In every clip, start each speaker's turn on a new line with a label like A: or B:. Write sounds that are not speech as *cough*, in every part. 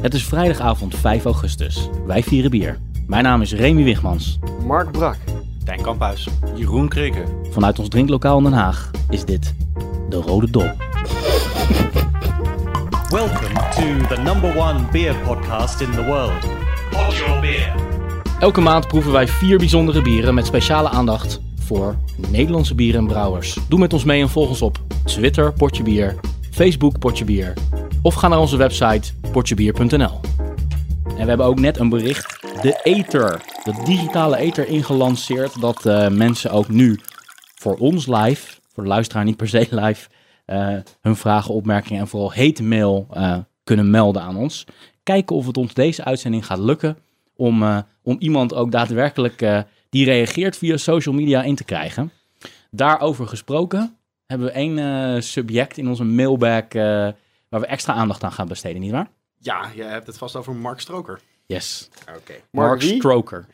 A: Het is vrijdagavond 5 augustus. Wij vieren bier. Mijn naam is Remy Wigmans.
B: Mark Brak.
C: Tijn Kamphuis.
D: Jeroen Krikken.
A: Vanuit ons drinklokaal in Den Haag is dit de Rode Dop.
E: Welcome to the number one beer podcast in the world. Pod Your Beer.
A: Elke maand proeven wij vier bijzondere bieren met speciale aandacht voor Nederlandse bieren en brouwers. Doe met ons mee en volg ons op Twitter Potje Bier, Facebook Potje Bier of ga naar onze website potjebier.nl. En we hebben ook net een bericht, de Ether, de digitale Ether ingelanceerd, dat eh, mensen ook nu voor ons live, voor de luisteraar niet per se live, eh, hun vragen, opmerkingen en vooral hate mail eh, kunnen melden aan ons. Kijken of het ons deze uitzending gaat lukken om, eh, om iemand ook daadwerkelijk eh, die reageert via social media in te krijgen. Daarover gesproken hebben we één eh, subject in onze mailbag eh, waar we extra aandacht aan gaan besteden, nietwaar?
D: Ja, je hebt het vast over Mark Stroker.
A: Yes.
D: Oké.
B: Mark wie?
A: Stroker.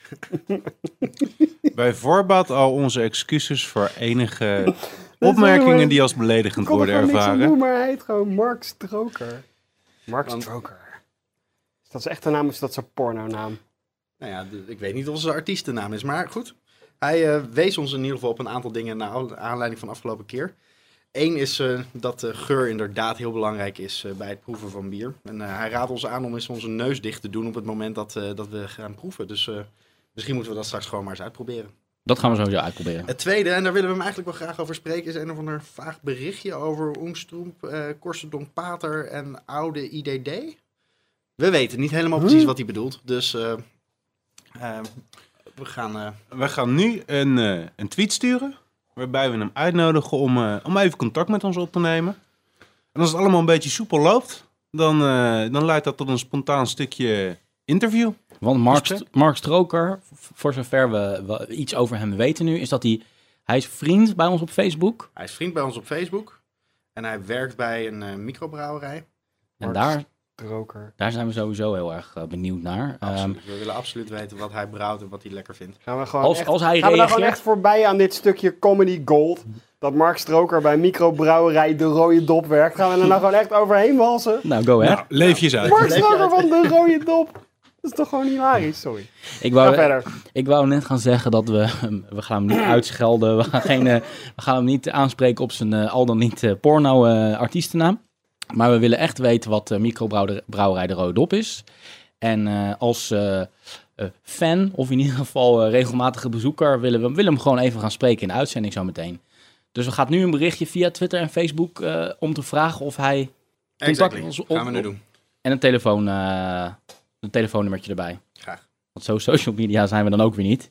D: Bij voorbaat al onze excuses voor
B: *laughs*
D: enige opmerkingen die als beledigend
B: kon
D: worden
B: er gewoon niks aan
D: ervaren.
B: doen, maar hij heet gewoon Mark Stroker. Mark Stroker. Is dat zijn echte naam of is dat zijn pornonaam?
C: Nou ja, d- ik weet niet of zijn artiestennaam is, maar goed. Hij eh, wees ons in ieder geval op een aantal dingen naar aan- aanleiding van de afgelopen keer. Eén is eh, dat de geur inderdaad heel belangrijk is eh, bij het proeven van bier. En eh, hij raadt ons aan om eens onze neus dicht te doen op het moment dat, eh, dat we gaan proeven. Dus eh, misschien moeten we dat straks gewoon maar eens uitproberen.
A: Dat gaan we sowieso uitproberen.
C: Het tweede, en daar willen we hem eigenlijk wel graag over spreken, is een of ander vaag berichtje over Oemstroemp, eh Korstendonk Pater en oude IDD. We weten niet helemaal precies wat hij bedoelt, dus eh, eh, we gaan... eh,
D: We gaan nu een, eh, een tweet sturen, waarbij we hem uitnodigen om, eh, om even contact met ons op te nemen. En als het allemaal een beetje soepel loopt, dan, eh, dan leidt dat tot een spontaan stukje interview.
A: Want Mark,
D: Gesprek?
A: Mark Stroker, v- voor zover we, we iets over hem weten nu, is dat hij, hij is vriend bij ons op Facebook.
C: hij is vriend bij ons op Facebook en hij werkt bij een eh, microbrouwerij.
A: En
B: Mark
A: daar,
B: Stroker.
A: daar zijn we sowieso heel erg eh, benieuwd naar. Ehm,
C: Absoluut. Dus we willen absoluut weten wat hij brouwt en wat hij lekker vindt.
B: Gaan we gewoon
A: als, E
B: echt,
A: als hij
B: gaan we dan gewoon
A: reageert,
B: echt voorbij aan dit stukje comedy gold? Dat Mark Stroker bij microbrouwerij De Rode Dop werkt. Gaan we er nou gewoon echt overheen walsen?
A: nou go ahead.
D: Nou, leef je eens uit.
B: Mark Stroker van De Rode Dop. Dat is toch gewoon hilarisch, sorry.
A: ik,
B: Ga
A: wou,
B: verder.
A: ik wou net gaan zeggen dat we, we gaan hem niet uitschelden, we gaan, geen, eh, we gaan hem niet aanspreken op zijn eh, al dan niet eh, porno eh, artiestennaam. Maar we willen echt weten wat eh, microbrouwerij De Rode Dop is. En eh, als eh, eh, fan, of in ieder geval eh, regelmatige bezoeker, willen we willen hem gewoon even gaan spreken in de uitzending zometeen. Dus we gaan nu een berichtje via Twitter en Facebook eh, om te vragen of hij
C: Exactly.
A: ons op-
C: Gaan we nu
A: op-
C: doen.
A: en een, telefoon, eh, een telefoonnummertje erbij.
C: Graag.
A: Want zo social media zijn we dan ook weer niet. *laughs*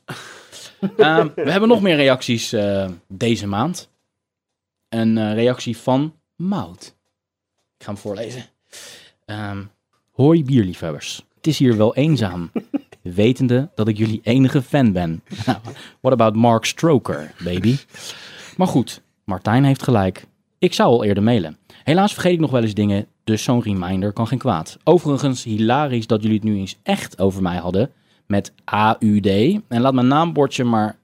A: Ehm, we hebben nog meer reacties eh, deze maand. Een eh, reactie van Mout. Ik ga hem voorlezen. Ehm, Hoi bierliefhebbers. Het is hier wel eenzaam. Wetende dat ik jullie enige fan ben. *laughs* Nou, What about Mark Stroker, baby? Maar goed, Martijn heeft gelijk. Ik zou al eerder mailen. Helaas vergeet ik nog wel eens dingen, dus zo'n reminder kan geen kwaad. Overigens, hilarisch dat jullie het nu eens echt over mij hadden met AUD. En laat mijn naambordje maar.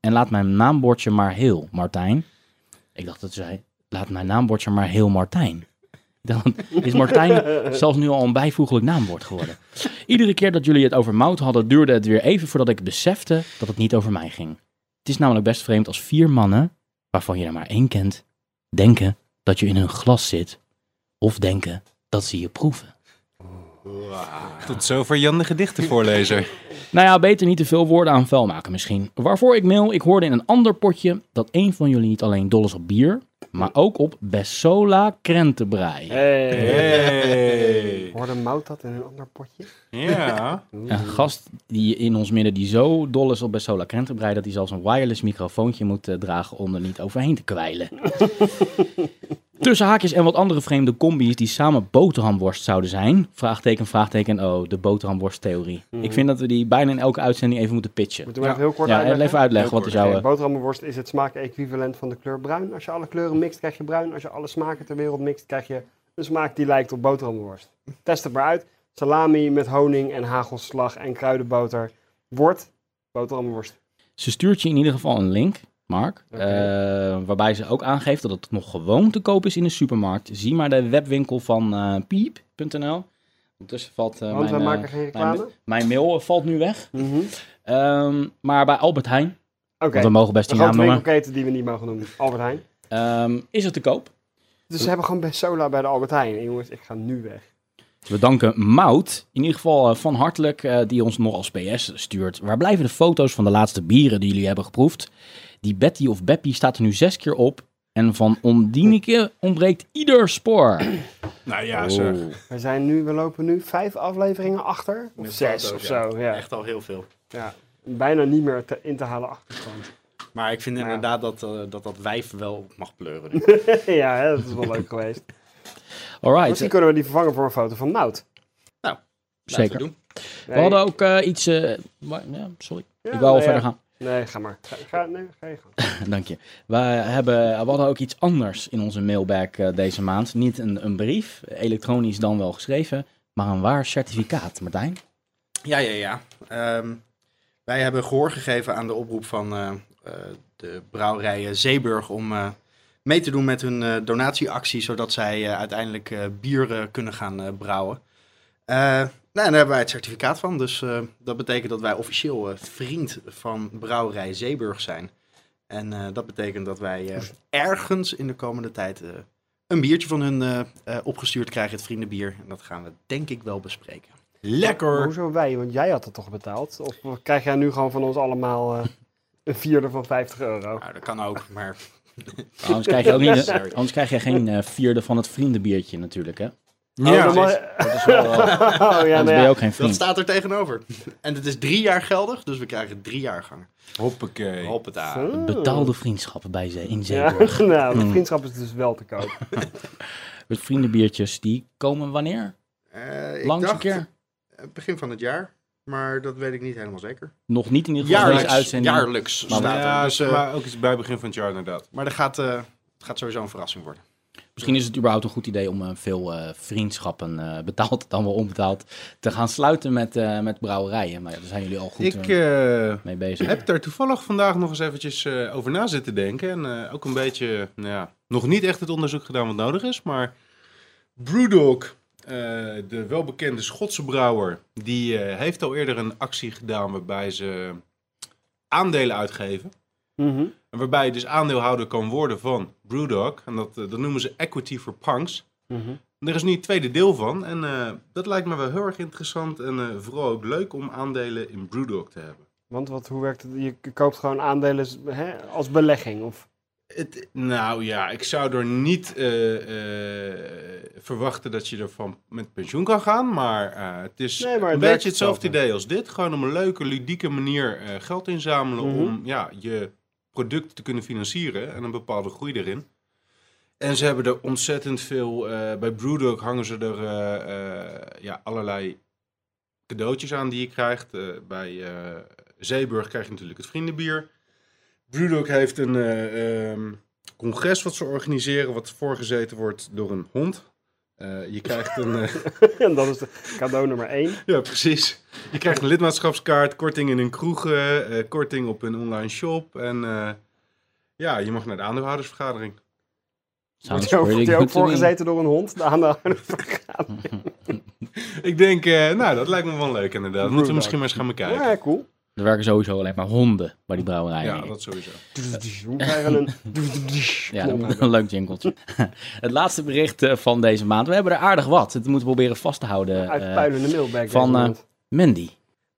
A: En laat mijn naambordje maar heel, Martijn. Ik dacht dat ze zei. Laat mijn naambordje maar heel Martijn. *laughs* Dan is Martijn zelfs nu al een bijvoeglijk naamwoord geworden. Iedere keer dat jullie het over mout hadden, duurde het weer even voordat ik besefte dat het niet over mij ging. Het is namelijk best vreemd als vier mannen, waarvan je er maar één kent, denken dat je in een glas zit. Of denken dat ze je proeven.
D: Tot zover Jan de gedichtenvoorlezer.
A: Nou ja, beter niet te veel woorden aan vuil maken misschien. Waarvoor ik mail, ik hoorde in een ander potje dat een van jullie niet alleen dol is op bier, maar ook op Bessola krentenbrei.
B: Hey.
D: Hey.
B: Hoorde Mout dat in een ander potje?
D: Ja.
A: Een gast die in ons midden die zo dol is op Bessola krentenbrei dat hij zelfs een wireless microfoontje moet eh, dragen om er niet overheen te
D: *laughs*
A: kwijlen. Tussen haakjes en wat andere vreemde combi's die samen boterhamworst zouden zijn. Vraagteken, vraagteken, oh, de boterhamworsttheorie.
D: Mhm.
A: Ik vind dat we die bijna in elke uitzending even moeten pitchen.
B: Moeten we
D: Ja.
B: even heel kort
A: Ja,
B: uitleggen?
A: even uitleggen
D: Heel
A: wat is
D: kort,
A: jouw...
B: Oké,
A: eh,
B: boterhammenworst is het smaak-equivalent van de kleur bruin. Als je alle kleuren mixt, krijg je bruin. Als je alle smaken ter wereld mixt, krijg je een smaak die lijkt op boterhammenworst. Test het maar uit. Salami met honing en hagelslag en kruidenboter wordt boterhammenworst.
A: Ze stuurt je in ieder geval een link, Mark.
B: Oké.
A: eh, waarbij ze ook aangeeft dat het nog gewoon te koop is in de supermarkt. Zie maar de webwinkel van eh, piep.nl. Ondertussen valt eh, mijn,
B: Want wij
A: eh,
B: maken geen
A: mijn,
B: reclame.
A: mijn mail eh, valt nu weg.
B: Mhm.
A: Ehm, maar bij Albert Heijn,
B: Oké,
A: want we mogen best
B: de
A: die
B: grote
A: naam noemen,
B: winkelketen die we niet mogen noemen. Albert Heijn.
A: ehm, is het te koop.
B: Dus ze hebben gewoon best sola bij de Albert Heijn. En jongens, ik ga nu weg.
A: We danken Mout, in ieder geval eh, van hartelijk, eh, die ons nog als PS stuurt. Waar blijven de foto's van de laatste bieren die jullie hebben geproefd? Die Betty of Beppie staat er nu zes keer op. En van Ondineke ontbreekt ieder spoor.
D: Nou ja, zeg.
A: Oh.
B: We, zijn nu, we lopen nu vijf afleveringen achter. Of
C: Met
B: zes
C: foto's,
B: of zo. Ja.
C: Echt al heel veel.
B: Ja. Bijna niet meer te, in te halen *laughs* achterstand.
C: Maar ik vind
B: Nou.
C: inderdaad dat, eh, dat dat wijf wel mag pleuren. denk ik.
B: ja, hè, dat is wel leuk geweest.
A: Alright,
B: Misschien kunnen we die vervangen voor een foto van Mout.
C: Laten we
A: zeker.
C: doen.
A: We hadden ook eh, iets... eh, wa- ja, sorry,
B: Ja,
A: ik wil al
B: nee,
A: verder
B: ja.
A: gaan. *laughs*
B: Nee, ga maar. Ga, ga, nee, ga je gang.
A: Dank je. We, hebben, we hadden ook iets anders in onze mailbag eh, deze maand. Niet een, een brief, elektronisch dan wel geschreven, maar een waar certificaat, Martijn.
C: Ja, ja, ja. Ehm, wij hebben gehoor gegeven aan de oproep van eh, eh, de brouwerijen Zeeburg om eh, mee te doen met hun eh, donatieactie, zodat zij eh, uiteindelijk eh, bier eh, kunnen gaan eh, brouwen. Eh, nou, en daar hebben wij het certificaat van, dus eh, dat betekent dat wij officieel eh, vriend van brouwerij Zeeburg zijn. En eh, dat betekent dat wij eh, ergens in de komende tijd eh, een biertje van hun eh, eh, opgestuurd krijgen, het vriendenbier. En dat gaan we denk ik wel bespreken.
B: Maar
D: Lekker.
B: hoezo wij? Want jij had het toch betaald? Of krijg jij nu gewoon van ons allemaal eh, een vierde van 50 euro?
C: Nou, dat kan ook, maar
A: Anders krijg je, ook niet,
C: Sorry.
A: anders krijg je geen eh, vierde van het vriendenbiertje natuurlijk, hè?
D: Ja.
B: Oh, dan
C: precies.
B: mag-
A: Dat is wel, eh,
B: *laughs* oh, ja,
A: anders
B: nou
A: ben je
B: ja.
A: ook geen
C: *laughs* dat
A: vriend.
C: staat er tegenover. En het is drie jaar geldig, dus we krijgen drie jaar gang.
D: Hoppakee.
C: Hoppata.
B: Zo.
A: Betaalde vriendschappen bij ze in
B: Ja,
A: Zeeburg.
B: *laughs* nou,
A: Hmm.
B: de vriendschap is dus wel te koop.
A: Met vriendenbiertjes, die komen wanneer?
C: Eh, ik
A: Langs een
C: dacht
A: keer?
C: eh, begin van het jaar, maar dat weet ik niet helemaal zeker.
A: Nog niet in ieder geval deze
C: Jaarlijks,
A: uitzending.
C: jaarlijks
A: Maar-
C: staat er.
D: Ja,
C: Dus, eh,
D: maar ook iets bij begin van het jaar inderdaad.
C: maar dat gaat, eh, het gaat sowieso een verrassing worden.
A: Misschien is het überhaupt een goed idee om eh, veel eh, vriendschappen, eh, betaald dan wel onbetaald, te gaan sluiten met, eh, met brouwerijen. Maar ja, daar zijn jullie al goed
D: Ik
A: eh,
D: *laughs* eh,
A: mee bezig.
D: heb daar toevallig vandaag nog eens eventjes eh, over na zitten denken. En eh, ook een beetje, nou ja, nog niet echt het onderzoek gedaan wat nodig is. Maar Brewdog, eh, de welbekende Schotse brouwer, die eh, heeft al eerder een actie gedaan waarbij ze aandelen uitgeven.
B: Mhm.
D: En waarbij je dus aandeelhouder kan worden van Brewdog. En dat, eh, dat noemen ze Equity for Punks.
B: Mhm.
D: En Er is nu het tweede deel van. En eh, dat lijkt me wel heel erg interessant. En eh, vooral ook leuk om aandelen in Brewdog te hebben.
B: Want wat, hoe werkt het? Je k- koopt gewoon aandelen s- hè, als belegging. Of... *laughs*
D: Het, nou ja, ik zou er niet eh, eh, verwachten dat je ervan met pensioen kan gaan. Maar eh, het is
B: Nee, maar het
D: een
B: werkt
D: beetje
B: hetzelfde.
D: hetzelfde idee als dit. Gewoon op een leuke, ludieke manier eh, geld inzamelen
B: Mhm.
D: om ja, je product te kunnen financieren en een bepaalde groei erin. En ze hebben er ontzettend veel. eh, bij Brewdog hangen ze er eh, eh, ja, allerlei cadeautjes aan die je krijgt. Eh, bij eh, Zeeburg krijg je natuurlijk het vriendenbier. Brewdog heeft een eh, ehm, congres wat ze organiseren, wat voorgezeten wordt door een hond. Eh, je krijgt een. eh,
B: en dat is de cadeau nummer één.
D: ja, precies. Je krijgt een lidmaatschapskaart, korting in hun kroegen, eh, korting op hun online shop. En eh, ja, je mag naar de aandeelhoudersvergadering.
B: Wordt
A: Sounds
B: je ook,
A: pretty
B: wordt die
A: good
B: ook
A: to me.
B: voorgezeten door een hond? Nou, De *laughs* aandeelhouder vergaat.
D: Ik denk, eh, nou, dat lijkt me wel leuk inderdaad. Moeten
B: Brewdog.
D: we misschien maar eens gaan bekijken.
B: Ja, cool.
A: Er werken sowieso alleen maar honden bij die brouwerijen.
D: Ja,
A: denk ik.
D: dat sowieso.
B: We
A: *laughs*
B: krijgen een...
A: Ja, dat moet *laughs* een leuk jingletje. het laatste bericht eh, van deze maand. We hebben er aardig wat. Het moeten we proberen vast te houden. eh,
B: Uitpuilende mailbag.
A: van,
B: deze
A: eh,
B: maand.
A: Mandy.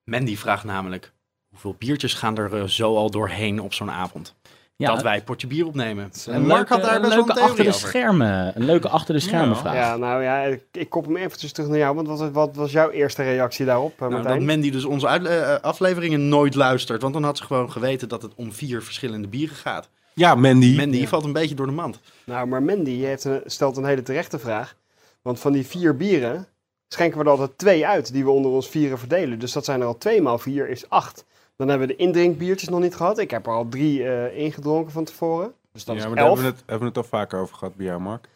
C: Mandy vraagt namelijk, hoeveel biertjes gaan er eh, zo al doorheen op zo'n avond?
A: Ja,
C: dat wij het potje bier opnemen.
A: een
C: En Mark
A: leuke-
C: had daar
A: een
C: best wel
A: leuke
C: een theorie
A: achter de
C: over.
A: schermen. Een leuke achter de schermen
D: Ja.
A: vraag.
B: Ja, nou ja, ik, ik kop hem eventjes terug naar jou. Want wat, wat was jouw eerste reactie daarop, eh,
C: Nou,
B: Martijn?
C: dat Mandy dus onze uitle- eh, afleveringen nooit luistert. Want dan had ze gewoon geweten dat het om vier verschillende bieren gaat.
D: Ja, Mandy.
C: Mandy valt een beetje door de mand.
B: Nou, maar Mandy heeft een- stelt een hele terechte vraag. Want van die vier bieren schenken we er altijd twee uit die we onder ons vieren verdelen. Dus dat zijn er al twee maal vier is acht. Dan hebben we de indrinkbiertjes nog niet gehad. Ik heb er al drie eh, ingedronken van tevoren. Dus dat
D: ja,
B: is
D: maar daar
B: elf.
D: hebben we, het, hebben we het al vaker over gehad bij jou, Mark.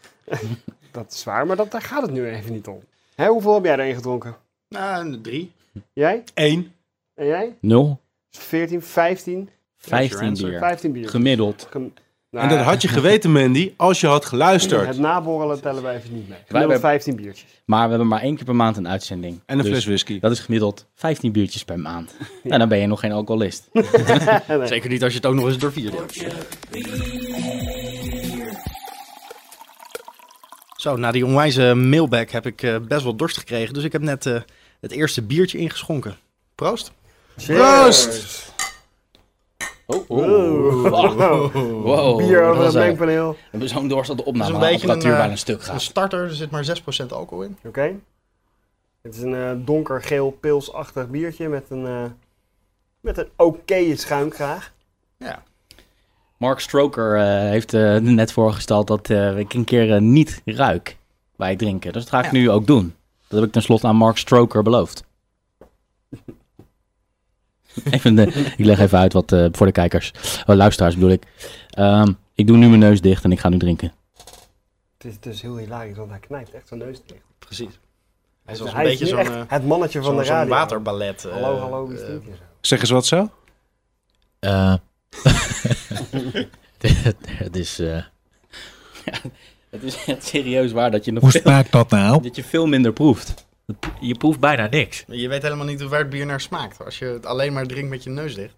B: Dat is waar, maar dat, daar gaat het nu even niet om. Hè, hoeveel heb jij er ingedronken?
C: Nou, een drie.
B: Jij?
D: Eén.
B: En jij? Dus
A: Nul,
B: 14, 15,
C: your
A: 15
C: answer.
A: bier.
B: 15 bier.
A: Gemiddeld.
B: Gem- Nou,
D: En dat had je geweten, Mandy, als je had geluisterd.
B: Het naborrelen tellen wij even niet mee.
A: Wij
B: Gemiddeld
A: hebben-
B: 15
A: *laughs*
B: biertjes.
A: Maar we hebben maar één keer per maand een uitzending.
D: En een
A: Dus
D: fles whisky.
A: Dat is gemiddeld 15 biertjes per
C: *laughs*
A: maand. En dan ben je nog geen alcoholist.
C: Zeker niet als je het ook nog eens door vier deelt. Zo, na die onwijze mailback heb ik eh, best wel dorst gekregen. Dus ik heb net eh, het eerste biertje ingeschonken. Proost.
B: Proost!
A: Oh,
B: Wow. Bier over het mengpaneel. Oké.
A: We hebben zo'n dorst eh, dat de
C: Dat
A: opname
C: is een beetje
A: apparatuur
C: een, eh,
A: bijna stuk
C: Een
A: gaat.
C: starter, er zit maar 6% alcohol in.
B: Het is een eh, donkergeel pilsachtig biertje met een, eh met een oké schuimkraag.
C: Ja.
A: Mark Stroker eh, heeft eh, net voorgesteld dat eh, ik een keer eh, niet ruik bij het drinken. Dus dat ga ik
C: Ja.
A: nu ook doen. Dat heb ik tenslotte aan Mark Stroker beloofd. *laughs* even de, ik leg even uit wat eh, voor de kijkers, oh, luisteraars bedoel ik. Ehm, ik doe nu mijn neus dicht en ik ga nu drinken.
B: Het is, het is heel hilarisch, want hij knijpt echt zijn neus dicht.
C: Precies. Hij is
B: Dus
C: als een beetje
B: nu
C: zo'n
B: echt
C: eh,
B: het mannetje van
C: zo'n-
B: de
C: zo'n
B: radio.
C: waterballet. eh,
B: Hallo, hallo, wie is
C: eh,
B: dit hier zo?
D: Zeg eens wat zo.
A: Eh, *laughs* het is. eh, ja, het is echt serieus waar dat je, nog veel,
F: smaakt dat nou?
A: dat je veel minder proeft.
F: Je proeft bijna niks.
C: Je weet helemaal niet hoe waar het bier naar smaakt. Als je het alleen maar drinkt met je neus dicht.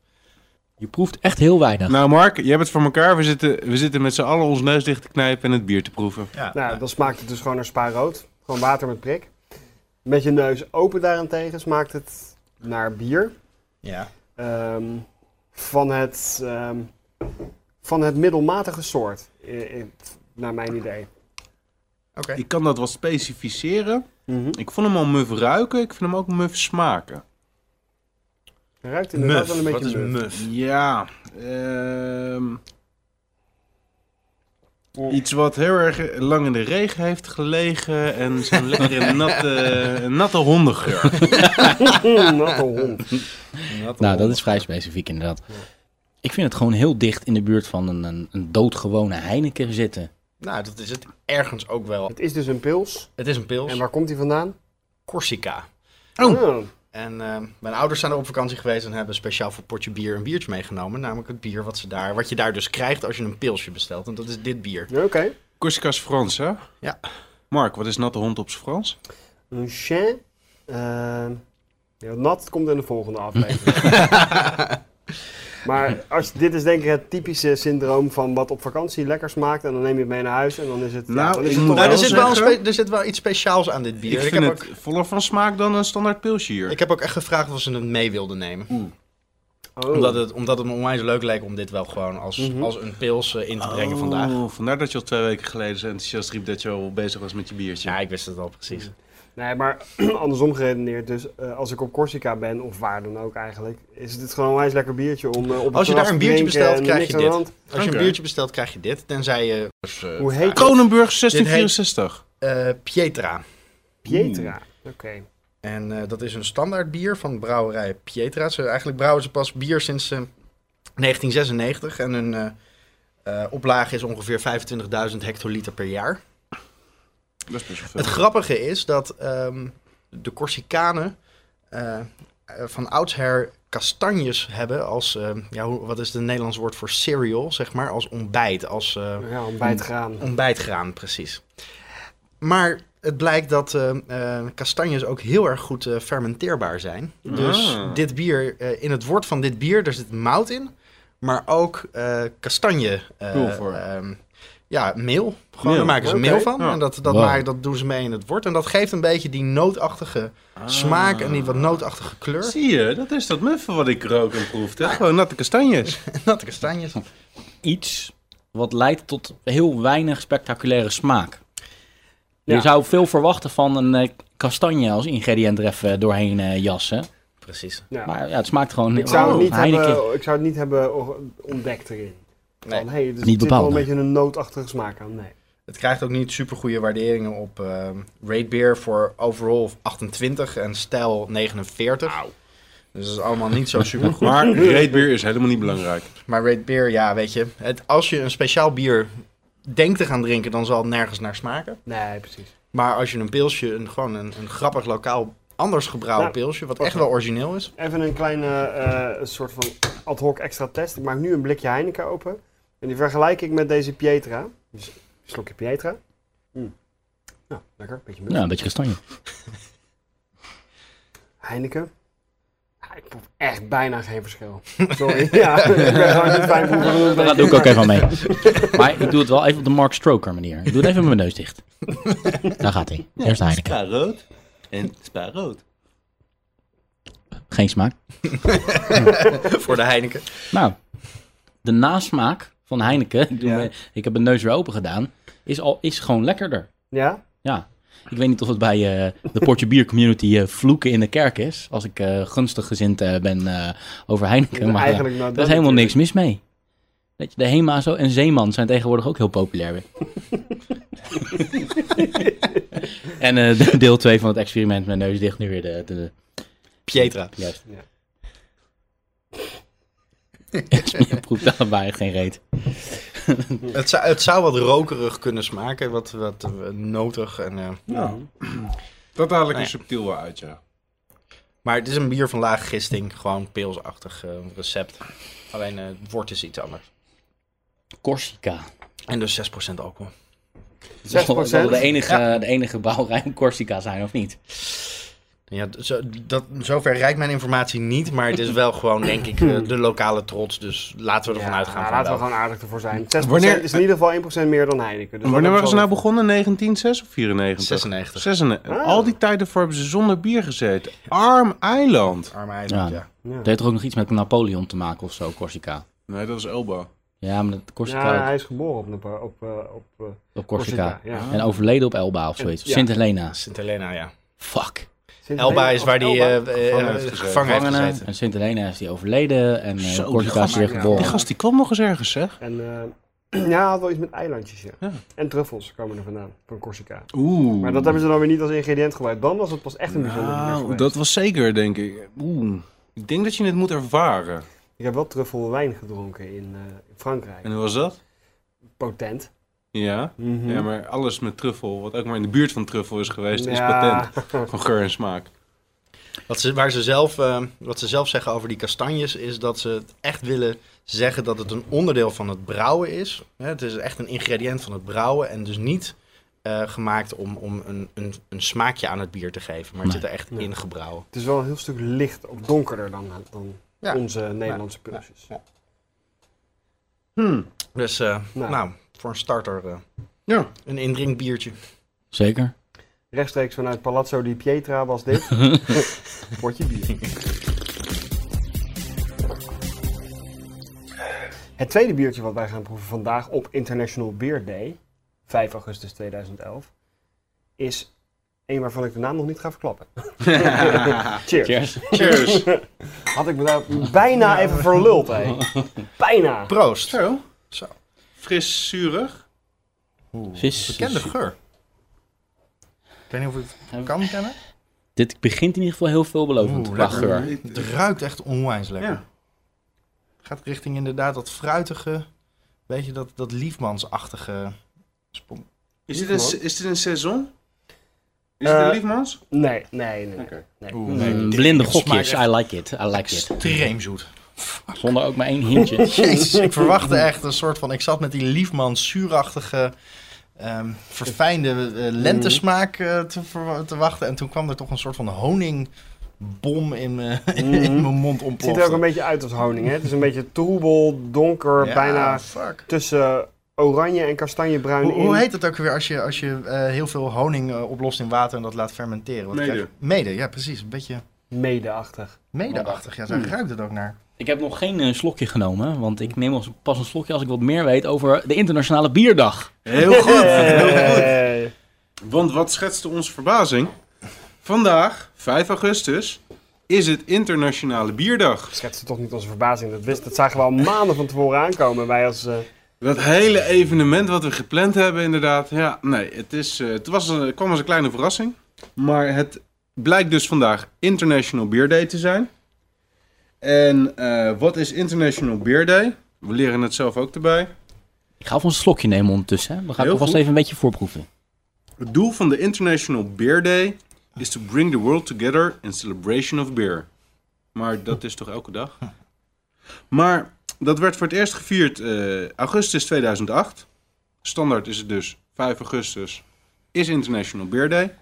F: Je proeft echt heel weinig.
D: Nou, Mark, je hebt het voor elkaar. We zitten, we zitten met z'n allen ons neus dicht te knijpen en het bier te proeven.
C: Ja.
B: Nou, dan smaakt het dus gewoon naar spa rood. Gewoon water met prik. Met je neus open daarentegen smaakt het naar bier.
C: ja.
B: Ehm, van, het, ehm, van het middelmatige soort, i- i- naar mijn idee.
C: Oké.
D: Ik kan dat wat specificeren.
C: Mhm.
D: Ik vond hem al muf ruiken, ik vind hem ook muf smaken.
B: Hij ruikt inderdaad
C: Muff.
B: wel een
C: Wat is
B: beetje muf.
C: muff?
D: Ja, ehm,
B: Oh.
D: iets wat heel erg lang in de regen heeft gelegen en *laughs* zo'n lekkere natte, natte hondengeur.
B: Wat *laughs* een hond.
A: Nou, dat is vrij specifiek inderdaad. Ik vind het gewoon heel dicht in de buurt van een, een, een doodgewone Heineken zitten.
C: Nou, dat is het ergens ook wel.
B: Het is dus een pils.
C: Het is een pils.
B: En waar komt hij vandaan?
C: Corsica.
D: Oh.
B: Ah,
C: En eh, mijn ouders zijn er op vakantie geweest en hebben speciaal voor potje bier een biertje meegenomen. Namelijk het bier wat, ze daar, wat je daar dus krijgt als je een pilsje bestelt. En dat is dit bier.
B: Ah, Oké.
D: Corsica is Frans, hè?
C: Ja.
D: Mark, wat is natte hond op zijn Frans?
B: Een chien. Ehm, ja, nat komt in de volgende
C: *laughs*
B: aflevering. maar als, dit is denk ik het typische syndroom van wat op vakantie lekker smaakt. En dan neem je het mee naar huis en dan is het... ja,
D: Nou,
B: dan is
D: ik
B: het
D: moet
B: toch
C: Nou,
B: wel
C: er,
D: wel
C: zit
B: zo-
C: wel een
D: zeggen-
C: spe- er zit wel iets speciaals aan dit bier.
D: Ik
C: Ik,
D: vind
C: heb,
D: het
C: ook,
D: voller van smaak dan een standaard pilsje hier.
C: ik heb ook echt gevraagd of ze het mee wilden nemen.
B: Oh.
C: Omdat, het, omdat het me onwijs leuk leek om dit wel gewoon als, als een pils eh, in te brengen vandaag.
D: Oh, vandaar dat je al twee weken geleden zo enthousiast riep dat je al bezig was met je biertje.
C: Ja, ik wist het al precies.
B: Nee, maar *clears throat* andersom geredeneerd. Dus eh, als ik op Corsica ben, of waar dan ook eigenlijk, is dit gewoon een wijs lekker biertje om eh, op
C: Als je
B: het terras
C: daar een
B: te
C: biertje
B: drinken
C: bestelt,
B: en
C: krijg
B: niks
C: je
B: aan de
C: dit.
B: hand.
C: Als je
D: Oké.
C: een biertje bestelt, krijg je dit. Tenzij je dus, eh,
B: Hoe heet dat?
D: Kronenburg
C: heet-
D: 1664.
C: eh, Pietra.
B: Pietra. Oké.
C: En eh, dat is een standaard bier van brouwerij Pietra. Ze, eigenlijk brouwen ze pas bier sinds eh, 1996. En hun eh, eh, oplage is ongeveer 25.000 hectoliter per jaar.
D: Dat is best wel veel.
C: Het grappige is dat ehm, de Corsicanen eh, eh, van oudsher kastanjes hebben als... eh, ja, hoe- wat is het Nederlands woord voor cereal, zeg maar? Als ontbijt, als... eh,
B: Ja, ontbijt graan.
C: Ontbijtgraan, precies. Maar het blijkt dat eh, eh, kastanjes ook heel erg goed eh, fermenteerbaar zijn. Dus
D: Ah.
C: dit bier, eh, in het woord van dit bier, daar zit mout in, maar ook eh, kastanje. eh,
D: Pulver.
C: ehm, ja, meel. Gewoon,
D: Meel,
C: daar maken ze
B: oké.
C: meel van.
D: Ja.
C: En dat, dat,
A: Wow.
C: maken, dat doen ze mee in het wort. En dat geeft een beetje die nootachtige smaak en die wat nootachtige kleur.
D: Ah.
C: *laughs*
D: Zie je, dat is dat muffen wat ik rook en proefde. Ah. Gewoon natte kastanjes.
C: Natte kastanjes.
A: Iets wat leidt tot heel weinig spectaculaire smaak.
B: Ja.
A: Je zou veel verwachten van een eh, kastanje als ingrediënt er even doorheen eh, jassen.
C: Precies.
B: Ja.
A: Maar ja, het smaakt gewoon...
B: ik, zou het
A: Oh,
B: niet
A: Heineken.
B: hebben, ik zou het niet hebben o- ontdekt erin.
C: Nee.
B: Van, hey, dus
A: Niet
B: het zit wel
A: bepaald,
B: een
A: nee.
B: beetje een noodachtige smaak aan. Nee.
C: Het krijgt ook niet super goede waarderingen op Raidbeer voor overall 28 en stijl 49. Dus dat is allemaal niet zo super goed.
D: Maar reetbier is helemaal niet belangrijk.
C: Maar Raidbeer, ja, weet je. Het, als je een speciaal bier denkt te gaan drinken, dan zal het nergens naar smaken.
B: Nee, precies.
C: Maar als je een pilsje, een, gewoon een, een grappig lokaal anders gebrouwen
B: Nou,
C: pilsje, wat
B: wacht
C: echt wel origineel is. *laughs*
B: Even een kleine eh, soort van ad hoc extra test. Ik maak nu een blikje Heineken open. En die vergelijk ik met deze Pietra. Dus een slokje Pietra. Mm. Nou, lekker. Beetje munt.
A: Ja, een beetje
B: *laughs*
A: kastanje.
B: Heineken. Ja, ik proef echt bijna geen *laughs* verschil. Sorry. ja, ik ben gewoon niet fijn proeven.
A: Daar doe ik ook even aan mee. Maar ik doe het wel even op de Mark Stroker manier. Ik doe het even met mijn neus
B: *laughs*
A: dicht. Daar gaat hij. Eerst Heineken.
G: Spa rood en spa rood.
A: Geen smaak.
C: voor de Heineken.
A: Nou, de nasmaak van Heineken, ik, doe me- ik heb mijn neus weer open gedaan, is, al, is gewoon lekkerder.
B: Ja?
A: Ja. Ik weet niet of het bij eh, de Portje Bier Community eh, vloeken in de kerk is. Als ik eh, gunstig gezind eh, ben eh, over Heineken. Maar eh,
B: eigenlijk nou,
A: daar is helemaal niks mis mee. Weet je, de Hema zo en Zeeman zijn tegenwoordig ook heel populair weer. en eh, de- deel 2 van het experiment met neus dicht nu weer de, de,
C: Pietra.
A: juist. *laughs*
B: Ja.
A: Je proeft allebei geen reet.
C: Het zou, het zou wat rokerig kunnen smaken, wat, wat eh, notig. En, eh,
D: *clears throat* Dat haal ik
G: Nou
C: Nee.
D: er subtiel wel uit, ja.
C: Maar het is een bier van lage gisting, gewoon pilsachtig eh, recept. Alleen eh, het wort is iets anders.
A: Corsica.
C: En dus 6% alcohol.
A: Dat zal- dat zal
B: 6%?
A: de enige, de enige bouwrij in Corsica zijn, of niet?
C: Ja, d- zo, dat, zover reikt mijn informatie niet, maar het is wel gewoon, denk ik, eh, de lokale trots. Dus laten we ervan
B: Ja,
C: uitgaan.
B: nou,
C: van
B: laten we
C: wel.
B: gewoon aardig ervoor zijn. 6%
D: Wanneer-
B: is in ieder geval 1% meer dan Heineken. Dus
D: wanneer
B: dat
D: waren ze
B: zal-
D: nou begonnen? 1906 of 94?
C: 96.
D: 96.
B: Ah.
D: Al die tijd daarvoor hebben ze zonder bier gezeten. Arm eiland.
C: Arme eiland,
A: Ja.
C: ja.
A: Het heeft er ook nog iets met Napoleon te maken of zo, Corsica.
D: Nee, dat is Elba.
A: Ja, maar dat Corsica
B: Ja,
A: ook-
B: hij is geboren op, Nepa- op, eh, op eh,
A: op Corsica.
B: Corsica. Ja.
A: En overleden op Elba of zoiets. Of
B: Ja.
A: Sint Helena.
C: Sint Helena, ja.
A: Fuck.
B: Sint
C: Elba
B: Helena
C: is
B: of
C: waar die
B: Elba?
C: eh, eh,
D: Gevangen heeft gezeten.
C: gevangen heeft
A: Gevangenen.
C: gezeten.
A: En Sint Helena is die overleden. En eh,
D: Zo, die
A: Corsica is
D: gast-
A: weer
B: ja.
A: geboren.
D: Die gast die kwam nog eens ergens, zeg.
B: En eh, *clears throat* ja, hij had wel iets met eilandjes, ja.
D: Ja.
B: En truffels komen er vandaan, van Corsica.
D: Oeh.
B: Maar dat hebben ze dan weer niet als ingrediënt gebruikt. Dan was het pas echt een bijzonder bier
D: Nou,
B: geweest.
D: dat was zeker, denk ik. Oeh. Ik denk dat je het moet ervaren.
B: Ik heb wel truffelwijn gedronken in, eh, in Frankrijk.
D: En hoe was dat?
B: Potent. Mhm.
D: Ja.
B: Hm?
D: Ja, maar alles met truffel, wat ook maar in de buurt van truffel is geweest, is
B: Ja.
D: patent. Van geur en smaak.
C: Wat ze, waar ze zelf, eh, wat ze zelf zeggen over die kastanjes is dat ze het echt willen zeggen dat het een onderdeel van het brouwen is. Hè, het is echt een ingrediënt van het brouwen en dus niet eh, gemaakt om, om een, een, een smaakje aan het bier te geven. Maar het
A: Nee.
C: zit er echt
B: Nee.
C: in gebrouwen.
B: Het is wel een heel stuk licht of donkerder dan, dan
C: Ja.
B: onze Nederlandse pilsjes. Hm.
C: Dus eh,
B: Nou.
C: nou. voor een starter eh,
D: Ja.
C: een indrinkbiertje.
A: Zeker.
B: Rechtstreeks vanuit Palazzo di Pietra was
D: *laughs*
B: dit. Potje bier. Het tweede biertje wat wij gaan proeven vandaag op International Beer Day, 5 augustus 2011, is een waarvan ik de naam nog niet ga
D: *laughs*
B: verklappen. Cheers.
A: Cheers.
B: *laughs*
D: Cheers.
B: Had ik me daar bijna even verluld,
D: *laughs*
B: hé. Bijna.
C: Proost!
D: Zo.
C: Zo.
D: Fris, zuurig.
A: Vis.
C: Bekende geur. Ik weet niet of ik het kan kennen.
A: Dit begint in ieder geval heel veelbelovend
C: Oeh,
A: qua
C: lekker.
A: geur.
C: Het ruikt echt onwijs lekker.
D: Ja.
C: Gaat richting inderdaad dat fruitige, weet je, dat, dat liefmansachtige. spon-
D: Is dit
B: Liefmans?
D: een, is dit een saison? Is
B: Eh,
D: dit een liefmans?
B: Nee, nee, nee.
D: Oké.
B: nee.
C: Oeh, nee,
A: Mm,
C: dit-
A: blinde
C: dit smaakt
A: gokjes.
C: echt
A: I like it. I like it.
C: Extreem zoet.
A: Zonder ook maar één hintje.
C: Jezus, ik verwachtte echt een soort van. Ik zat met die liefmans zuurachtige, ehm, verfijnde eh, lentesmaak eh, te, ver- te wachten. En toen kwam er toch een soort van honingbom in mijn *laughs* in mijn mond
B: Het ziet Mhm. er ook een
C: ontplofte.
B: beetje uit als honing, hè. Het is een beetje troebel, donker,
C: Ja,
B: bijna
C: Fuck.
B: tussen oranje en kastanjebruin
C: Hoe,
B: in.
C: hoe heet dat ook weer als je, als je eh, heel veel honing eh, oplost in water en dat laat fermenteren? Wat
D: Mede.
C: krijg je? Mede, ja precies. Een beetje
B: Mede-achtig.
C: medeachtig. Ja, daar ruikt het ook naar.
A: Ik heb nog geen eh, slokje genomen, want ik neem als- pas een slokje als ik wat meer weet over de Internationale Bierdag.
B: *laughs*
D: Heel goed.
B: Hey.
D: Want wat schetste onze verbazing? Vandaag, 5 augustus, is het Internationale Bierdag.
B: Schetste toch niet onze verbazing. Dat, wist, dat zagen we al maanden van tevoren aankomen. Wij als... eh,
D: Dat hele evenement wat we gepland hebben, inderdaad. Ja, nee, het, is, eh, het was, een- het kwam als een kleine verrassing. Maar het blijkt dus vandaag International Beer Day te zijn. En eh, wat is International Beer Day? We leren het zelf ook erbij.
A: Ik ga alvast een slokje nemen ondertussen. Hè. Dan ga ik
D: Heel
A: alvast
D: goed.
A: even een beetje voorproeven.
D: Het doel van de International Beer Day is to bring the world together in celebration of beer. Maar dat is toch elke dag? Maar Dat werd voor het eerst gevierd eh, augustus 2008. Standaard is het dus 5 augustus is International Beer Day.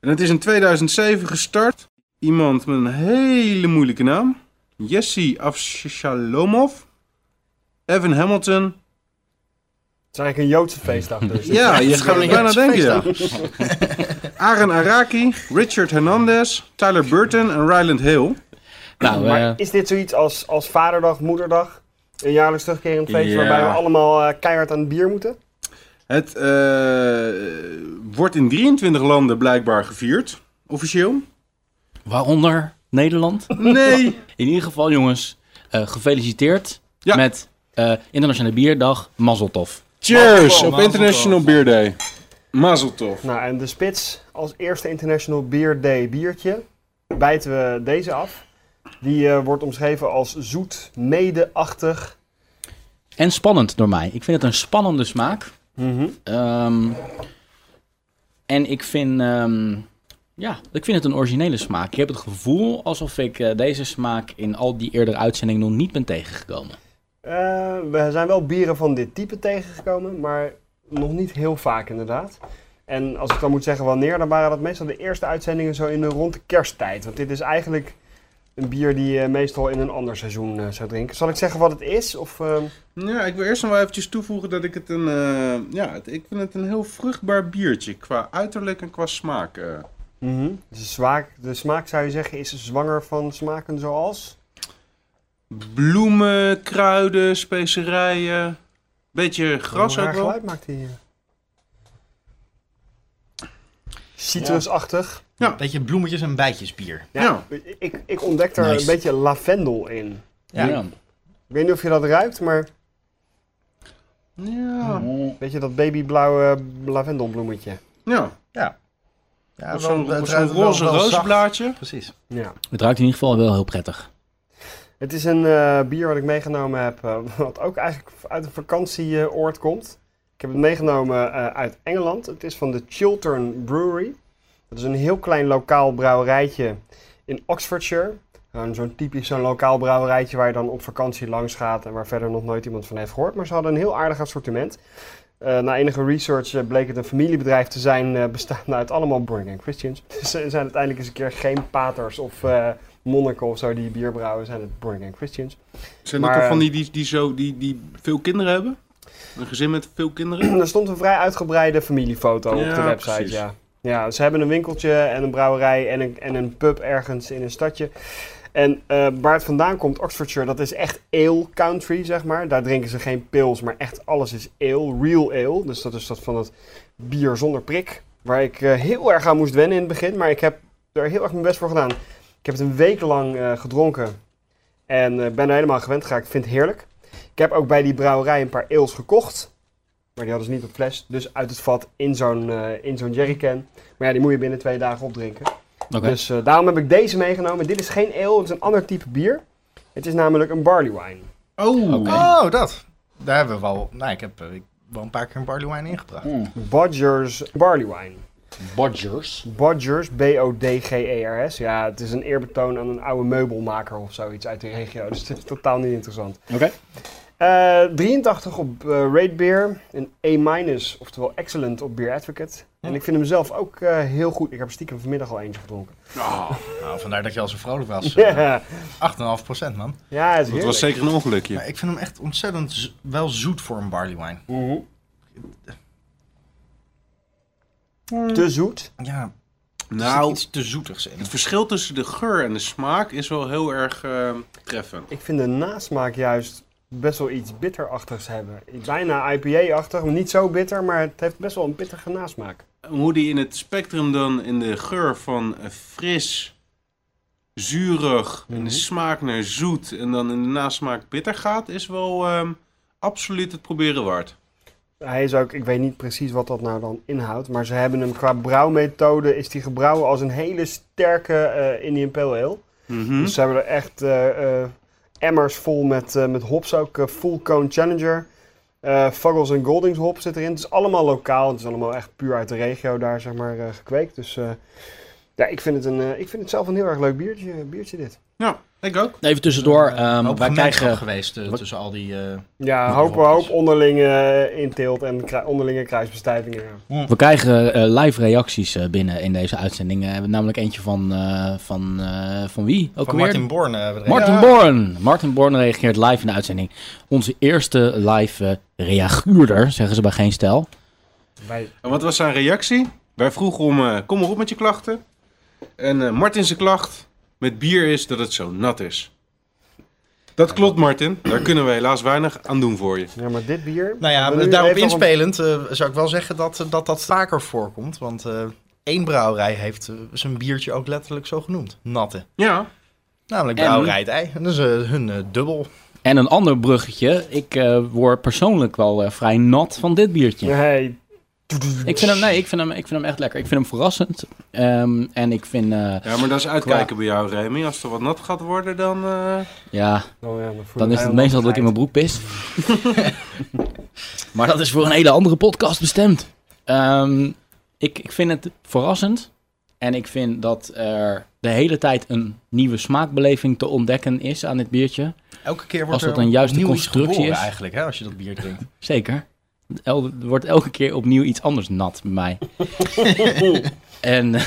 D: En het is in 2007 gestart. Iemand met een hele moeilijke naam. Jesse Afshalomov. Evan Hamilton.
B: Het is eigenlijk een Joodse feestdag dus.
D: Ja, je
C: gewoon
D: gaat
C: een
D: bijna
C: Joodse
D: denken. ja. Aaron Araki, Richard Hernandez, Tyler Burton en Ryland Hill.
A: Nou,
B: Maar
A: eh,
B: is dit zoiets als, als vaderdag, moederdag? Een jaarlijks terugkerend feest
D: Ja.
B: waarbij we allemaal eh, keihard aan het bier moeten?
D: Het eh, wordt in 23 landen blijkbaar gevierd, officieel.
A: waaronder Nederland.
D: Nee.
A: In ieder geval, jongens, eh, gefeliciteerd
D: Ja.
A: met eh, Internationale Bierdag Mazzeltof.
D: *laughs* Cheers
B: Mazel
D: op International Beer Day. Mazel tov.
B: Nou, en de spits als eerste International Beer Day biertje bijten we deze af. Die eh, wordt omschreven als zoet, medeachtig.
A: En spannend door mij. Ik vind het een spannende smaak. Ehm, en ik vind, ehm, ja, ik vind het een originele smaak. Ik heb het gevoel alsof ik eh, deze smaak in al die eerdere uitzendingen nog niet ben tegengekomen.
B: Eh, we zijn wel bieren van dit type tegengekomen, maar nog niet heel vaak inderdaad. En als ik dan moet zeggen wanneer, dan waren dat meestal de eerste uitzendingen zo in de rond de kersttijd. Want dit is eigenlijk een bier die je meestal in een ander seizoen eh, zou drinken. Zal ik zeggen wat het is? Of, ehm,
D: Ja, ik wil eerst nog wel eventjes toevoegen dat ik het een... eh, ja, het- ik vind het een heel vruchtbaar biertje. Qua uiterlijk en qua smaak. eh.
B: mhm. de, smaak, de smaak zou je zeggen is zwanger van smaken zoals?
D: Bloemen, kruiden, specerijen. Beetje gras
B: Hoe
D: ook
B: raar
D: wel.
B: geluid maakt hij hier? Citrusachtig.
D: Ja.
C: Beetje bloemetjes en bijtjes bier.
B: Ja.
D: Ja.
B: Ik, ik ontdek er
C: Nice.
B: een beetje lavendel in.
C: Ja.
B: Ik weet niet of je dat ruikt, maar
D: Ja.
B: weet je dat babyblauwe lavendelbloemetje?
D: ja.
G: Ja,
D: Of zo'n
G: wel- eh, het
D: zo'n
G: ruikt wel-
D: roze
G: wel zacht.
D: roosblaadje.
G: Precies.
B: Ja.
A: Het ruikt in ieder geval wel heel prettig.
B: Het is een eh, bier wat ik meegenomen heb, eh, *laughs* wat ook eigenlijk uit een vakantieoord komt. Ik heb het meegenomen eh, uit Engeland. Het is van de Chiltern Brewery. Dat is een heel klein lokaal brouwerijtje in Oxfordshire. Gewoon zo'n typisch zo'n lokaal brouwerijtje waar je dan op vakantie langs gaat en waar verder nog nooit iemand van heeft gehoord. Maar ze hadden een heel aardig assortiment. Eh, na enige research eh, bleek het een familiebedrijf te zijn eh, bestaande uit allemaal born-again Christians. *laughs* Dus ze zijn uiteindelijk eens een keer geen paters of eh, monniken of zo die bier brouwen, zijn het born-again Christians.
D: Zijn
B: Maar,
D: dat er van
B: eh,
D: die, die, die, zo, die, die veel kinderen hebben? Een gezin met veel
B: *clears throat*
D: kinderen?
B: er stond een vrij uitgebreide familiefoto op
D: Ja,
B: de website,
D: precies.
B: ja. Ja, ze hebben een winkeltje en een brouwerij en een, en een pub ergens in een stadje. En eh, waar het vandaan komt, Oxfordshire, dat is echt ale country, zeg maar. Daar drinken ze geen pils, maar echt alles is ale, real ale. Dus dat is dat van het bier zonder prik. Waar ik eh, heel erg aan moest wennen in het begin, maar ik heb er heel erg mijn best voor gedaan. Ik heb het een week lang eh, gedronken en eh, ben er helemaal aan gewend geraakt. Ik vind het heerlijk. Ik heb ook bij die brouwerij een paar eels gekocht. Maar die hadden ze niet op fles. Dus uit het vat in zo'n eh, in zo'n jerrycan. Maar ja, die moet je binnen twee dagen opdrinken.
A: Oké.
B: Dus eh, daarom heb ik deze meegenomen. Dit is geen ale, het is een ander type bier. Het is namelijk een barley wine.
D: Oh.
A: Oké.
C: Oh, dat. Daar hebben we wel... Nou, ik heb eh, ik heb wel een paar keer een barley wine ingebracht.
B: Bodgers barley wine.
A: Bodgers.
B: Bodgers, B-O-D-G-E-R-S. E Ja, het is een eerbetoon aan een oude meubelmaker of zoiets uit die regio. *laughs* Dus het is totaal niet interessant.
A: Oké.
B: Eh, 83 op eh Rate Beer. Een A-, oftewel excellent op Beer Advocate. En ik vind hem zelf ook eh, heel goed. Ik heb er stiekem vanmiddag al eentje gedronken.
C: Nou, vandaar dat je al zo vrolijk was.
B: *laughs*
C: Eh,
B: Ja,
C: 8,5 procent, man.
B: ja het is
D: Dat was
B: heerlijk.
D: zeker een ongelukje.
C: Maar ik vind hem echt ontzettend z- wel zoet voor een barley wine.
B: Mhm. Te zoet.
C: Ja, nou,
D: Nou,
C: iets te zoetigs in.
D: het verschil tussen de geur en de smaak is wel heel erg eh, treffend.
B: Ik vind de nasmaak juist best wel iets bitterachtigs hebben. Bijna IPA-achtig, maar niet zo bitter, maar het heeft best wel een bitterige nasmaak.
D: Hoe die in het spectrum dan in de geur van eh, fris, zuurig, en de smaak naar zoet en dan in de nasmaak bitter gaat, is wel ehm, absoluut het proberen waard.
B: Hij is ook, ik weet niet precies wat dat nou dan inhoudt, maar ze hebben hem qua brouwmethode, is die gebrouwen als een hele sterke eh, Indian Pale Ale.
D: Mhm.
B: Dus ze hebben er echt eh, eh, emmers vol met, eh, met hops ook. eh, full Cone Challenger. eh Fuggles en Goldings hop zit erin. Het is allemaal lokaal. Het is allemaal echt puur uit de regio daar zeg maar eh, gekweekt. Dus eh, Ja, ik vind, het een, eh, ik vind het zelf een heel erg leuk biertje, biertje dit.
D: Ja, ik ook.
A: Even tussendoor, ehm,
C: Eh, Hoop
A: wij
C: gemeenschap
A: krijgen...
C: geweest eh,
A: wat-
C: tussen al die... eh,
B: Ja,
C: Ja,
B: hoop,
C: wel.
B: hoop onderlinge inteelt en krui- onderlinge kruisbestuivingen. ja.
A: We krijgen eh, live reacties eh, binnen in deze uitzending. Eh, we hebben namelijk eentje van, eh, van, eh, van wie? Ook
C: van
A: alweer?
C: Martin Born. eh, bedrijf.
A: Martin
C: Ja.
A: Born. Martin Born reageert live in de uitzending. Onze eerste live eh, reaguurder, zeggen ze bij Geen Stijl.
B: Wij-
D: En wat was zijn reactie? Wij vroegen om, eh, kom maar op met je klachten. En eh, Martin zijn klacht met bier is dat het zo nat is. Dat klopt, Martin. Daar kunnen we helaas weinig aan doen voor je.
B: Ja, maar dit bier...
C: Nou ja,
B: we nu
C: daarop
B: even nog een-
C: inspelend eh, zou ik wel zeggen dat eh, dat, dat vaker voorkomt. Want eh, één brouwerij heeft eh, zijn biertje ook letterlijk zo genoemd. Natte.
D: Ja.
C: Namelijk
A: En-
C: brouwerij het ei. En dat is eh, hun eh, dubbel.
A: En een ander bruggetje. Ik eh, word persoonlijk wel eh, vrij nat van dit biertje.
B: Nee,
A: Ik, vind hem, nee, ik, vind hem, ik vind hem echt lekker. Ik vind hem verrassend. Ehm, en ik vind... eh,
D: Ja, maar dat is uitkijken bij jou, Remy. Als er wat nat gaat worden, dan... eh,
A: ja,
B: dan, Oh ja, dan voel
A: dan
B: ik
A: is het
B: mij wel
A: meestal dat ik in mijn
B: bevrijd.
A: broek pis. *laughs* maar dat is voor een hele andere podcast bestemd. Ehm, ik, ik vind het verrassend. En ik vind dat er de hele tijd een nieuwe smaakbeleving te ontdekken is aan dit biertje.
C: Elke keer wordt
A: Als dat
C: er
A: een juiste
C: opnieuw iets
A: constructie
C: geboren
A: is.
C: eigenlijk, hè, als je dat bier *laughs* drinkt.
A: Zeker. El- er wordt elke keer opnieuw iets anders nat bij mij. en, *laughs* eh,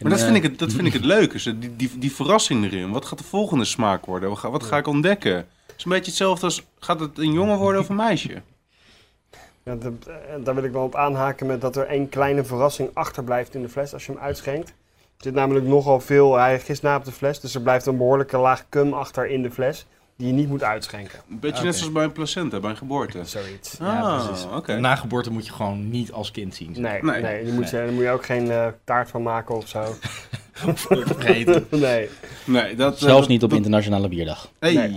D: Maar dat vind, ik het, dat vind ik het leuke, zo die, die, die verrassing erin. Wat gaat de volgende smaak worden? Wat ga, wat ga ik ontdekken? Het is een beetje hetzelfde als, gaat het een jongen worden of een meisje?
B: Ja, dat- eh, daar wil ik wel op aanhaken met dat er één kleine verrassing achterblijft in de fles als je hem uitschenkt. Er zit namelijk nogal veel gisteren na op de fles, dus er blijft een behoorlijke laag cum achter in de fles die je niet moet uitschenken.
D: Een
A: *laughs*
D: beetje net zoals bij een placenta, bij een geboorte.
B: Zoiets.
D: ah, oké.
A: Nou,
C: Na geboorte moet je gewoon niet als kind zien. zeg.
B: Nee, nee.
D: Nee.
B: daar, moet je, daar moet je ook geen eh, taart van maken of zo. *laughs*
C: Vergeten.
B: nee.
D: Nee, dat, eh,
A: zelfs
D: dat-
A: niet op
D: dat-
A: Internationale Bierdag.
D: Hey.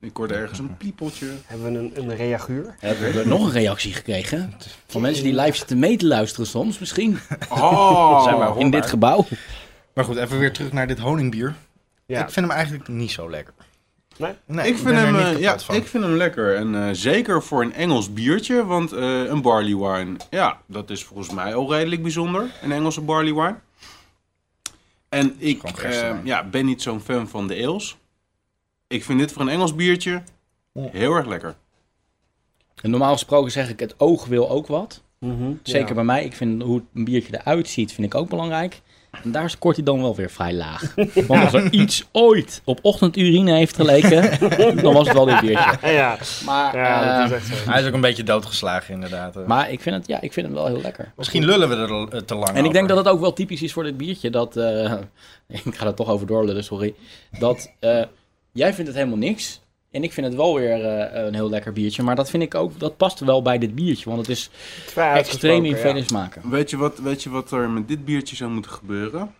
D: Ik hoorde ergens een piepeltje.
B: Hebben we een, een reaguur?
A: Hebben we nog een reactie gekregen? Van mensen die live zitten mee te luisteren soms, misschien.
D: Oh,
A: in dit gebouw.
C: Maar goed, even weer terug naar dit honingbier.
B: Ja.
C: Ik vind hem eigenlijk niet zo lekker.
B: Nee?
C: Nee,
D: ik, vind
C: ben er
D: hem,
C: niet
D: eh, ja,
C: kapot van.
D: ik vind hem lekker. En eh, zeker voor een Engels biertje, want eh, een barley wine, ja, dat is volgens mij al redelijk bijzonder. Een Engelse barley wine. En ik
C: gewoon gerstewijn.
D: eh, ja, ben niet zo'n fan van de eels. Ik vind dit voor een Engels biertje heel erg lekker.
A: En normaal gesproken zeg ik, het oog wil ook wat. Zeker
B: Mhm. Ja.
A: bij mij. Ik vind hoe een biertje eruit ziet, vind ik ook belangrijk. En daar scoort hij dan wel weer vrij *laughs* laag. Want als er iets ooit op ochtendurine heeft *laughs* geleken, dan was het wel dit biertje.
B: Ah, Ja, ja.
A: Maar,
B: ja, dat
A: eh,
B: is echt zo.
C: Hij is ook een beetje doodgeslagen inderdaad. eh.
A: maar ik, vind het, ja, ik vind hem wel heel lekker.
C: Misschien lullen we er eh, te lang
A: En ik denk
C: over.
A: dat het ook wel typisch is voor dit biertje. Dat, eh, *laughs* ik ga er toch over doorlullen, sorry. Dat eh, jij vindt het helemaal niks. En ik vind het wel weer eh, een heel lekker biertje. Maar dat vind ik ook, dat past wel bij dit biertje. Want het is
B: Vrij
A: extreem
B: uitgesproken,
A: in
B: ja.
A: vele smaken.
D: Weet je, wat, weet je wat er met dit biertje zou moeten gebeuren?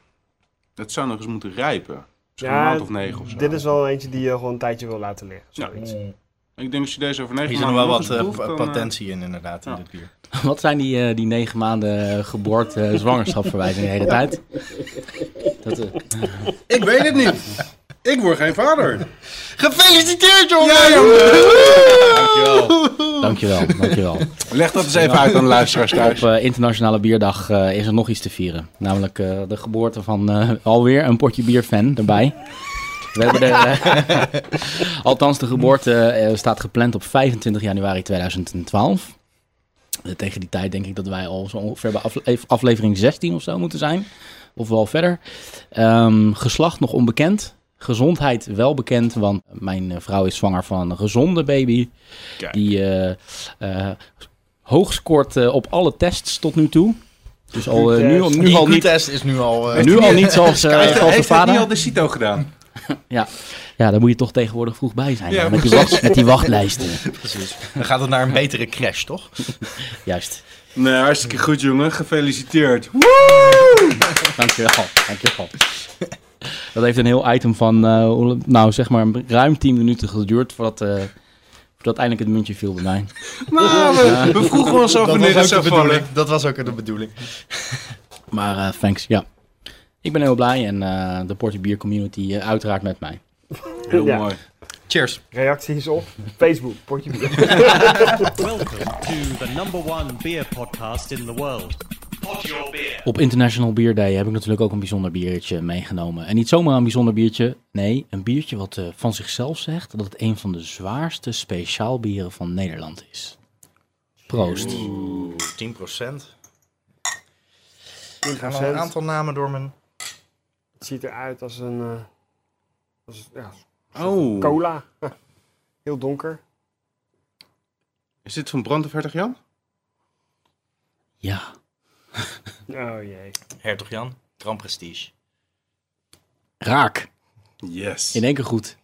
D: Het zou nog eens moeten rijpen. Misschien
B: Ja,
D: een maand of negen of zo.
B: Dit is wel eentje die je gewoon een tijdje wil laten liggen.
D: Ja.
B: Zoiets.
D: Ik denk als je deze over negen
C: Hier
D: maanden
C: zit nog wel
D: nog
C: wat
D: eens
C: eh,
D: proeft,
C: pa-
D: dan, eh,
C: potentie in inderdaad, in dit bier.
A: *laughs* Wat zijn die, eh, die negen maanden geboorte zwangerschapverwijzingen de hele tijd? Dat, eh,
D: Ik weet het niet. Ik word geen vader.
C: Gefeliciteerd jongen!
A: dankjewel, dankjewel.
D: Leg dat eens even uit aan de luisteraars *laughs*
A: Op eh, Internationale Bierdag eh, is er nog iets te vieren. Namelijk eh, de geboorte van eh, alweer een potje bierfan erbij. We hebben de, eh, *laughs* althans, de geboorte eh, staat gepland op 25 januari 2012. Eh, tegen die tijd denk ik dat wij al zo ongeveer bij afle- aflevering 16 of zo moeten zijn. Of wel verder. Ehm, geslacht nog onbekend. Gezondheid wel bekend, want mijn eh, vrouw is zwanger van een gezonde baby.
D: Kijk.
A: Die eh, eh, hoog scoort eh, op alle tests tot nu toe. Dus al, eh, nu, nu, al
C: Die
A: niet,
C: test is nu al... eh,
A: nu al niet zoals, eh, zoals de
D: Heeft hij niet
A: vader.
D: al de CITO gedaan?
A: Ja, daar moet je toch tegenwoordig vroeg bij zijn.
D: Ja,
A: hè, met, die wacht, met die wachtlijsten.
C: *laughs* Precies. Dan gaat het naar een betere crash, toch?
A: Juist.
D: Nee, hartstikke goed jongen. Gefeliciteerd.
A: Dankjewel, dankjewel. Dat heeft een heel item van, eh, hoe- nou zeg maar, ruim 10 minuten geduurd voordat, eh, voordat eindelijk het muntje viel bij mij.
D: Nou, we, we vroegen ons af wanneer het
C: was ook
D: zou
C: de
D: vallen.
C: bedoeling. Dat was ook de bedoeling.
A: Maar eh, thanks, ja. Ik ben heel blij en eh, de Porter Bier Community eh, uiteraard met mij.
D: Heel
B: Ja.
D: mooi.
C: Cheers.
B: Reacties op *laughs* Facebook, potje bier.
E: Welcome to the number one beer podcast in the world,
A: Op International Beer Day heb ik natuurlijk ook een bijzonder biertje meegenomen. En niet zomaar een bijzonder biertje. Nee, een biertje wat eh, van zichzelf zegt dat het een van de zwaarste speciaalbieren van Nederland is. Proost.
H: 10 procent. Gaan we een
B: 10%.
H: aantal namen door mijn...
B: Het ziet eruit als een eh, als, ja,
D: Oh,
B: cola. *laughs* Heel donker.
D: is dit van Brandvertig Jan?
A: Ja,
B: Oh jee.
C: Hertog Jan, Grand Prestige.
A: raak.
D: Yes.
A: In één keer goed.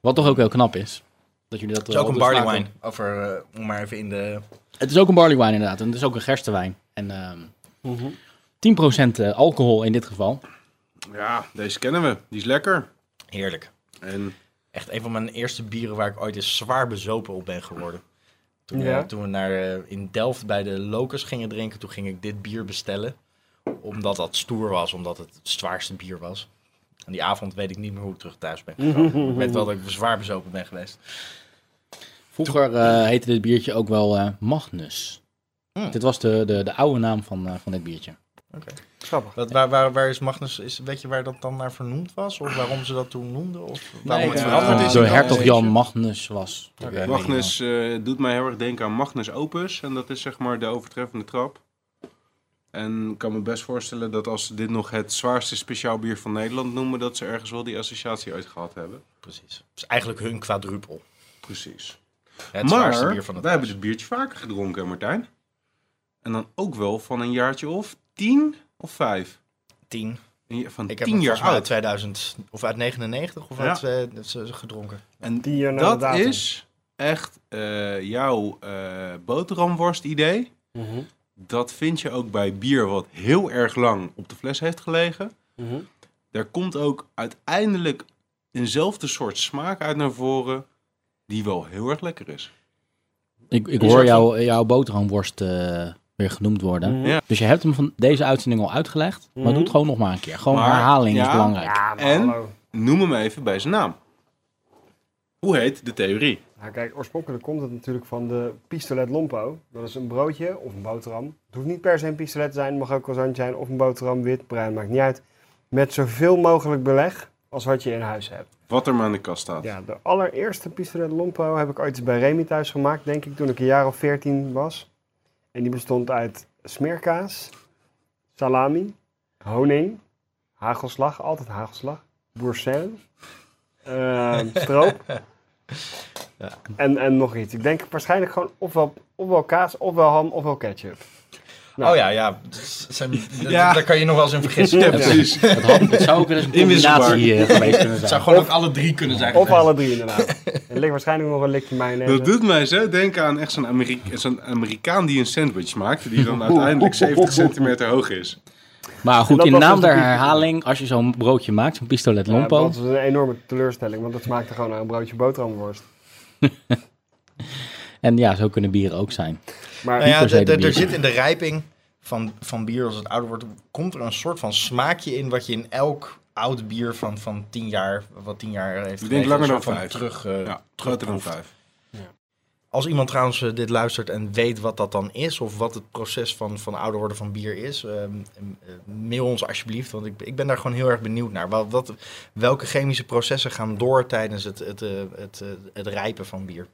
A: Wat toch ook heel knap is. Dat jullie dat
C: Het is ook
A: wel
C: een
A: altijd
C: barley
A: maken.
C: wine. Over, eh, om maar even in de...
A: Het is ook een barley wine inderdaad. En het is ook een gerstewijn. En
B: Mhm.
A: ehm 10% alcohol in dit geval.
D: Ja, deze kennen we. Die is lekker.
C: Heerlijk.
D: En
C: Echt een van mijn eerste bieren waar ik ooit eens zwaar bezopen op ben geworden. Toen, eh,
B: Ja.
C: toen we naar, eh, in Delft bij de Locus gingen drinken, toen ging ik dit bier bestellen. Omdat dat stoer was, omdat het het zwaarste bier was. En die avond weet ik niet meer hoe ik terug thuis ben gekomen. ik weet wel dat ik zwaar bezopen ben geweest.
A: Vroeger eh, heette dit biertje ook wel eh, Magnus.
C: Hmm.
A: Dit was de, de, de oude naam van, eh, van dit biertje.
B: Grappig.
C: Wat, waar, waar, waar is Magnus, is, weet je waar dat dan naar vernoemd was? Of waarom ze dat toen noemden? Of waarom
A: Nee, eh,
C: het veranderd is?
A: door
C: in dat
A: hertog
C: feestje?
A: Jan Magnus was.
C: Oké.
D: Magnus eh, doet mij heel erg denken aan Magnus Opus. En dat is zeg maar de overtreffende trap. En ik kan me best voorstellen dat als ze dit nog het zwaarste speciaal bier van Nederland noemen, dat ze ergens wel die associatie ooit gehad hebben.
C: Precies. Het is eigenlijk hun quadrupel.
D: Precies.
C: Het zwaarste
D: maar
C: bier van het
D: wij hebben
C: huis.
D: dit biertje vaker gedronken, Martijn. En dan ook wel van een jaartje of tien of vijf.
C: tien.
D: Een ja- Van
C: Ik heb
D: tien
C: het
D: jaar
C: volgens mij uit
D: oud.
C: 2000 of uit 99 of
D: Ja.
C: uit eh, dat ze- ze gedronken.
D: En
B: Die hier naar de
D: dat
B: datum.
D: is echt eh, jouw eh boterhamworst idee.
B: Mhm.
D: Dat vind je ook bij bier wat heel erg lang op de fles heeft gelegen.
B: Mhm.
D: Daar komt ook uiteindelijk eenzelfde soort smaak uit naar voren die wel heel erg lekker is.
A: Ik, ik
C: Is
A: hoor
C: dat
A: jou, jouw boterhamworst eh, weer genoemd worden.
B: Mhm.
D: Ja.
A: Dus je hebt hem van deze uitzending al uitgelegd. Maar
B: Mhm.
A: doe het gewoon nog maar een keer. Gewoon
D: Maar,
A: herhaling is
D: ja.
A: belangrijk.
B: Ja, maar
D: En?
B: hallo.
D: Noem hem even bij zijn naam. Hoe heet de theorie?
B: Nou, kijk, oorspronkelijk komt het natuurlijk van de pistolet lompo. Dat is een broodje of een boterham. Het hoeft niet per se een pistolet te zijn. Het mag ook een croissant zijn of een boterham. Wit, bruin, maakt niet uit. Met zoveel mogelijk beleg als wat je in huis hebt.
D: Wat er maar aan de kast staat.
B: Ja, de allereerste pistolet Lompo heb ik ooit eens bij Remy thuis gemaakt, denk ik, toen ik een jaar of 14 was. En die bestond uit smeerkaas, salami, honing, hagelslag, altijd hagelslag, boursin, ehm, stroop en, en nog iets. Ik denk waarschijnlijk gewoon ofwel, ofwel kaas, ofwel ham, ofwel ketchup. Nou.
C: Oh ja, ja. Dat zijn- dat-
D: Ja.
C: Daar kan je nog wel eens in vergissen.
D: Ja, precies.
A: Het, had- het zou ook weer eens een combinatie eh, geweest kunnen zijn.
C: Het zou gewoon ook alle drie kunnen zijn.
B: Of alle drie inderdaad. Er ligt waarschijnlijk nog een likje mayonaise.
D: Dat doet mij zo denken aan echt zo'n, Amerik- zo'n Amerikaan die een sandwich maakt, die *laughs* dan uiteindelijk 70 centimeter hoog is.
A: Maar goed,
B: dat
A: in
B: was
A: naam
B: dus de
A: der
B: piep.
A: herhaling, als je zo'n broodje maakt, zo'n pistolet
B: Ja,
A: lompo.
B: dat is een enorme teleurstelling, want dat smaakte gewoon naar een broodje boterhamworst.
A: En ja, zo kunnen bieren ook zijn.
B: Maar
C: Nou ja,
A: per se
C: d- d-
A: de bier.
C: er zit in de rijping van, van bier als het ouder wordt, komt er een soort van smaakje in wat je in elk oud bier van, van tien jaar, wat tien jaar heeft
D: Ik denk
C: gelegen,
D: langer
C: een
D: dan
C: soort van
D: vijf.
C: Terug, eh,
D: Ja, groter dan vijf.
C: Als iemand trouwens eh, dit luistert en weet wat dat dan is, of wat het proces van, van ouder worden van bier is, ehm, ehm, eh, mail ons alsjeblieft, want ik, ik ben daar gewoon heel erg benieuwd naar. Wat, wat, welke chemische processen gaan door tijdens het, het, eh, het, eh, het rijpen van bier?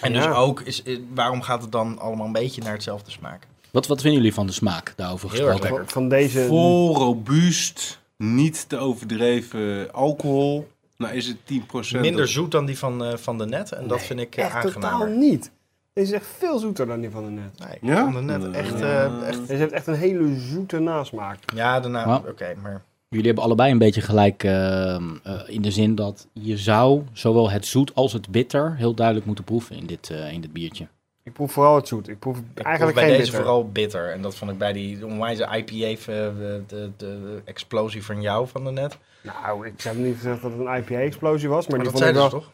C: En
B: Ja.
C: dus ook, is, eh, waarom gaat het dan allemaal een beetje naar hetzelfde smaak?
A: Wat, wat vinden jullie van de smaak daarover
C: Heel erg
A: gesproken?
C: lekker.
B: Van, van deze.
D: Vol, robuust, niet te overdreven alcohol. Nou is het 10%.
C: Minder zoet dan die van, eh, van de net, en dat vind ik eh,
B: echt totaal
C: aangenamer.
B: niet. Deze is echt veel zoeter dan die van de net.
C: Nee, ik
D: Ja?
C: vond de net echt, eh, echt...
B: Deze heeft echt een hele zoete nasmaak.
C: Ja, daarna,
A: Ja.
C: oké, maar...
A: Jullie hebben allebei een beetje gelijk eh, eh, in de zin dat je zou zowel het zoet als het bitter heel duidelijk moeten proeven in dit, eh, in dit biertje.
B: Ik proef vooral het zoet. Ik proef
C: Ik
B: eigenlijk
C: proef bij
B: geen
C: deze
B: bitter.
C: vooral bitter. En dat vond ik bij die onwijze IPA, eh, de, de, de explosie van jou van daarnet. Maar,
B: Nou, ik heb niet gezegd dat het een IPA-explosie was, maar, die
C: dat
B: vond ik
C: zeiden
B: wel...
C: ze toch?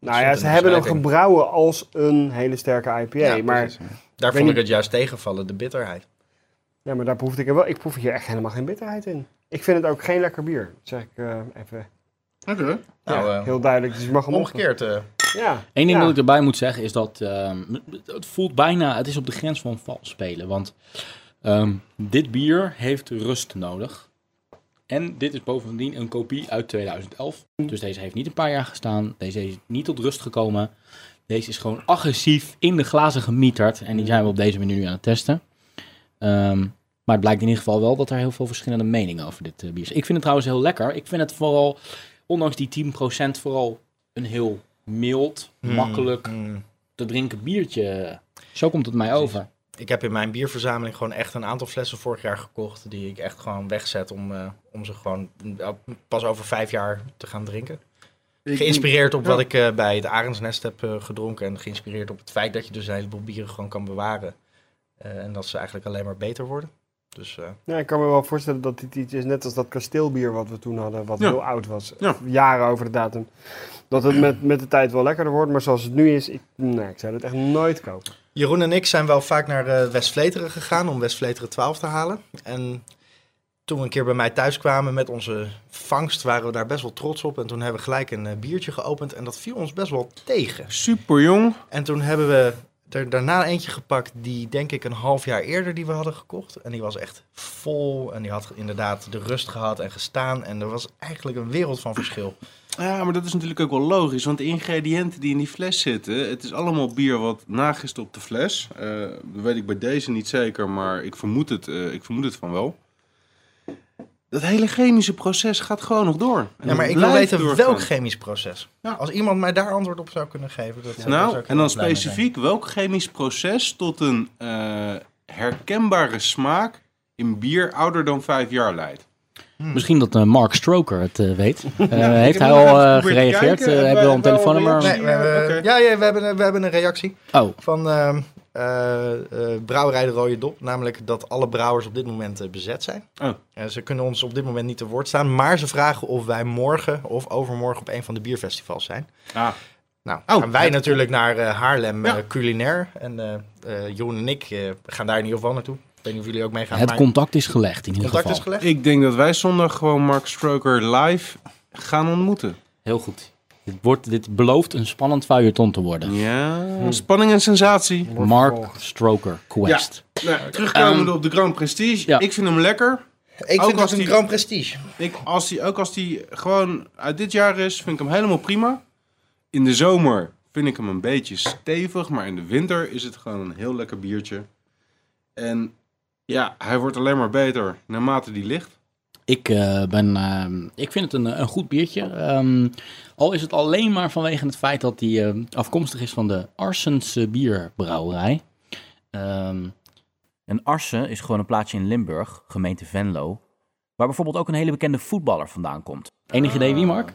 B: nou ja,
C: stond
B: ze
C: in de
B: hebben hem
C: beschrijving.
B: gebrouwen als een hele sterke IPA.
C: Ja,
B: maar,
C: precies. Daar
B: weet
C: vond ik
B: niet-
C: het juist tegenvallen, de bitterheid.
B: ja, maar daar proefde ik er wel. Ik proef hier echt helemaal geen bitterheid in. Ik vind het ook geen lekker bier. Dat zeg ik eh, even
D: Oké.
C: Nou,
B: ja,
C: eh,
B: heel duidelijk. Dus je mag hem omgekeerd.
C: omgekeerd. eh,
B: Ja.
A: Eén ding
B: ja.
A: dat ik erbij moet zeggen is dat ehm, het voelt bijna, het is op de grens van vals spelen. Want ehm, dit bier heeft rust nodig. En dit is bovendien een kopie uit 2011. Dus deze heeft niet een paar jaar gestaan. Deze is niet tot rust gekomen. Deze is gewoon agressief in de glazen gemieterd. En die zijn we op deze manier nu aan het testen. Ehm, maar het blijkt in ieder geval wel dat er heel veel verschillende meningen over dit eh, bier zijn. Ik vind het trouwens heel lekker. Ik vind het vooral, ondanks die 10%, vooral een heel mild, makkelijk
C: Mm.
A: te drinken biertje. Zo komt het mij over.
C: Ik heb in mijn bierverzameling gewoon echt een aantal flessen vorig jaar gekocht. Die ik echt gewoon wegzet om, eh, om ze gewoon eh, pas over vijf jaar te gaan drinken. Geïnspireerd op wat ik eh, bij het Arendsnest heb eh, gedronken. En geïnspireerd op het feit dat je dus een heleboel bieren gewoon kan bewaren. Eh, en dat ze eigenlijk alleen maar beter worden. Dus eh,
B: Ja, ik kan me wel voorstellen dat dit iets is, net als dat kasteelbier wat we toen hadden, wat
D: Ja.
B: heel oud was.
D: Ja.
B: Jaren over de datum. Dat het met, met de tijd wel lekkerder wordt, maar zoals het nu is, ik, nee, ik zou dit echt nooit kopen.
C: Jeroen en ik zijn wel vaak naar eh West-Vleteren gegaan om West-Vleteren 12 te halen. En toen we een keer bij mij thuis kwamen met onze vangst, waren we daar best wel trots op. En toen hebben we gelijk een eh, biertje geopend en dat viel ons best wel tegen.
D: Super jong.
C: En toen hebben we er daarna eentje gepakt die denk ik een half jaar eerder die we hadden gekocht. En die was echt vol en die had inderdaad de rust gehad en gestaan. En er was eigenlijk een wereld van verschil.
D: Ja, maar dat is natuurlijk ook wel logisch, want de ingrediënten die in die fles zitten, het is allemaal bier wat nagist op de fles. Eh, dat weet ik bij deze niet zeker, maar ik vermoed, het, eh, ik vermoed het van wel. Dat hele chemische proces gaat gewoon nog door. En
C: Ja, maar
D: het
C: ik wil
D: blijft
C: weten
D: doorgaan.
C: welk chemisch proces. Als iemand mij daar antwoord op zou kunnen geven. Dat zou- daar zou
D: Nou,
C: ik
D: en dan
C: heel blij mee zijn.
D: specifiek welk chemisch proces tot een eh, herkenbare smaak in bier ouder dan vijf jaar leidt.
A: Misschien dat eh, Mark Stroker het eh, weet. Eh, heeft
D: heb
A: hij
D: nog
A: al
D: even
A: eh,
D: geprobeerd te
A: gereageerd?
D: kijken
A: Eh,
D: en
A: hebben we al een
D: wij- wij
A: telefoonnummer?
D: horen
C: Nee, we hebben,
D: Oké.
C: ja, ja, we, hebben, een- we hebben een reactie
A: Oh,
C: van ehm, eh, eh, Brouwerij de Rode Dop. Namelijk dat alle brouwers op dit moment eh, bezet zijn.
D: Oh.
C: Eh, ze kunnen ons op dit moment niet te woord staan. Maar ze vragen of wij morgen of overmorgen op een van de bierfestivals zijn.
D: Ah.
C: Nou,
D: Oh,
C: gaan wij
D: ja.
C: natuurlijk naar eh, Haarlem eh,
D: Ja.
C: culinair. En eh eh Jeroen en ik eh, gaan daar in ieder geval naartoe. Ik weet niet of jullie ook meegaan.
A: het
C: maar
A: contact is gelegd in ieder
C: contact
A: geval.
C: is gelegd.
D: Ik denk dat wij zondag gewoon Mark Stroker live gaan ontmoeten.
A: Heel goed. Dit, wordt, dit belooft een spannend vuurton te worden.
D: Ja,
C: Hm.
D: spanning en sensatie.
B: Wordt
A: Mark
B: vervolgd.
A: Stroker Quest.
D: Nou, terugkomende op de Grand Prestige.
A: Ja.
D: Ik vind hem lekker.
C: Ik
D: Ook
C: vind het
D: als
C: een
D: die-
C: Grand Prestige.
D: Ik, als die, ook als die gewoon uit dit jaar is, vind ik hem helemaal prima. In de zomer vind ik hem een beetje stevig, maar in de winter is het gewoon een heel lekker biertje. En ja, hij wordt alleen maar beter naarmate die ligt.
A: Ik, eh, ben, ehm, ik vind het een, een goed biertje. Ehm, al is het alleen maar vanwege het feit dat die ehm, afkomstig is van de Arsense bierbrouwerij. Ehm,
I: Een Arsen is gewoon een plaatsje in Limburg, gemeente Venlo, waar bijvoorbeeld ook een hele bekende voetballer vandaan komt.
A: enig idee wie, Mark?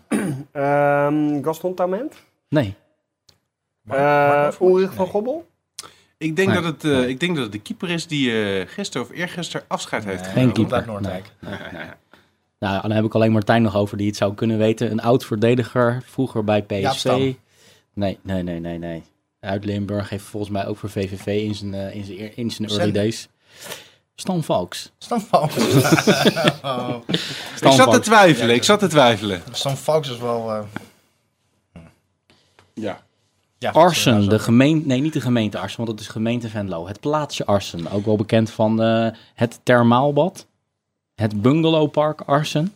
B: Ehm Gaston Tament?
A: Nee.
B: Eh Ulrich van Gobbel?
D: Ik denk,
A: Nee.
D: dat, het, eh, ik denk dat het de keeper is die eh, gisteren of eergisteren afscheid heeft
A: Geen
C: Rob
A: keeper.
C: uit Noordwijk.
A: Nou, dan heb ik alleen Martijn nog over die het zou kunnen weten. Een oud verdediger, vroeger bij
C: Jaap
A: PSV.
C: Stam.
A: nee, nee, nee, nee, nee. Uit Limburg heeft volgens mij ook voor VVV in zijn, eh, in zijn, eer- in zijn early
C: Cent-
A: days. Stan Valks.
C: Stan Valks. Oh.
D: *laughs*
A: Stan
D: Ik zat te
A: Valks.
D: twijfelen, ik zat te twijfelen.
C: Stan Valks is wel... eh,
G: eh,
D: Ja.
C: ja, dat is,
A: Arsen,
C: eh,
A: de gemeente, nee niet de gemeente Arsen, want dat is gemeente Venlo. Het plaatsje Arsen, ook wel bekend van eh, het Thermaalbad, het bungalowpark Arsen,
C: *laughs*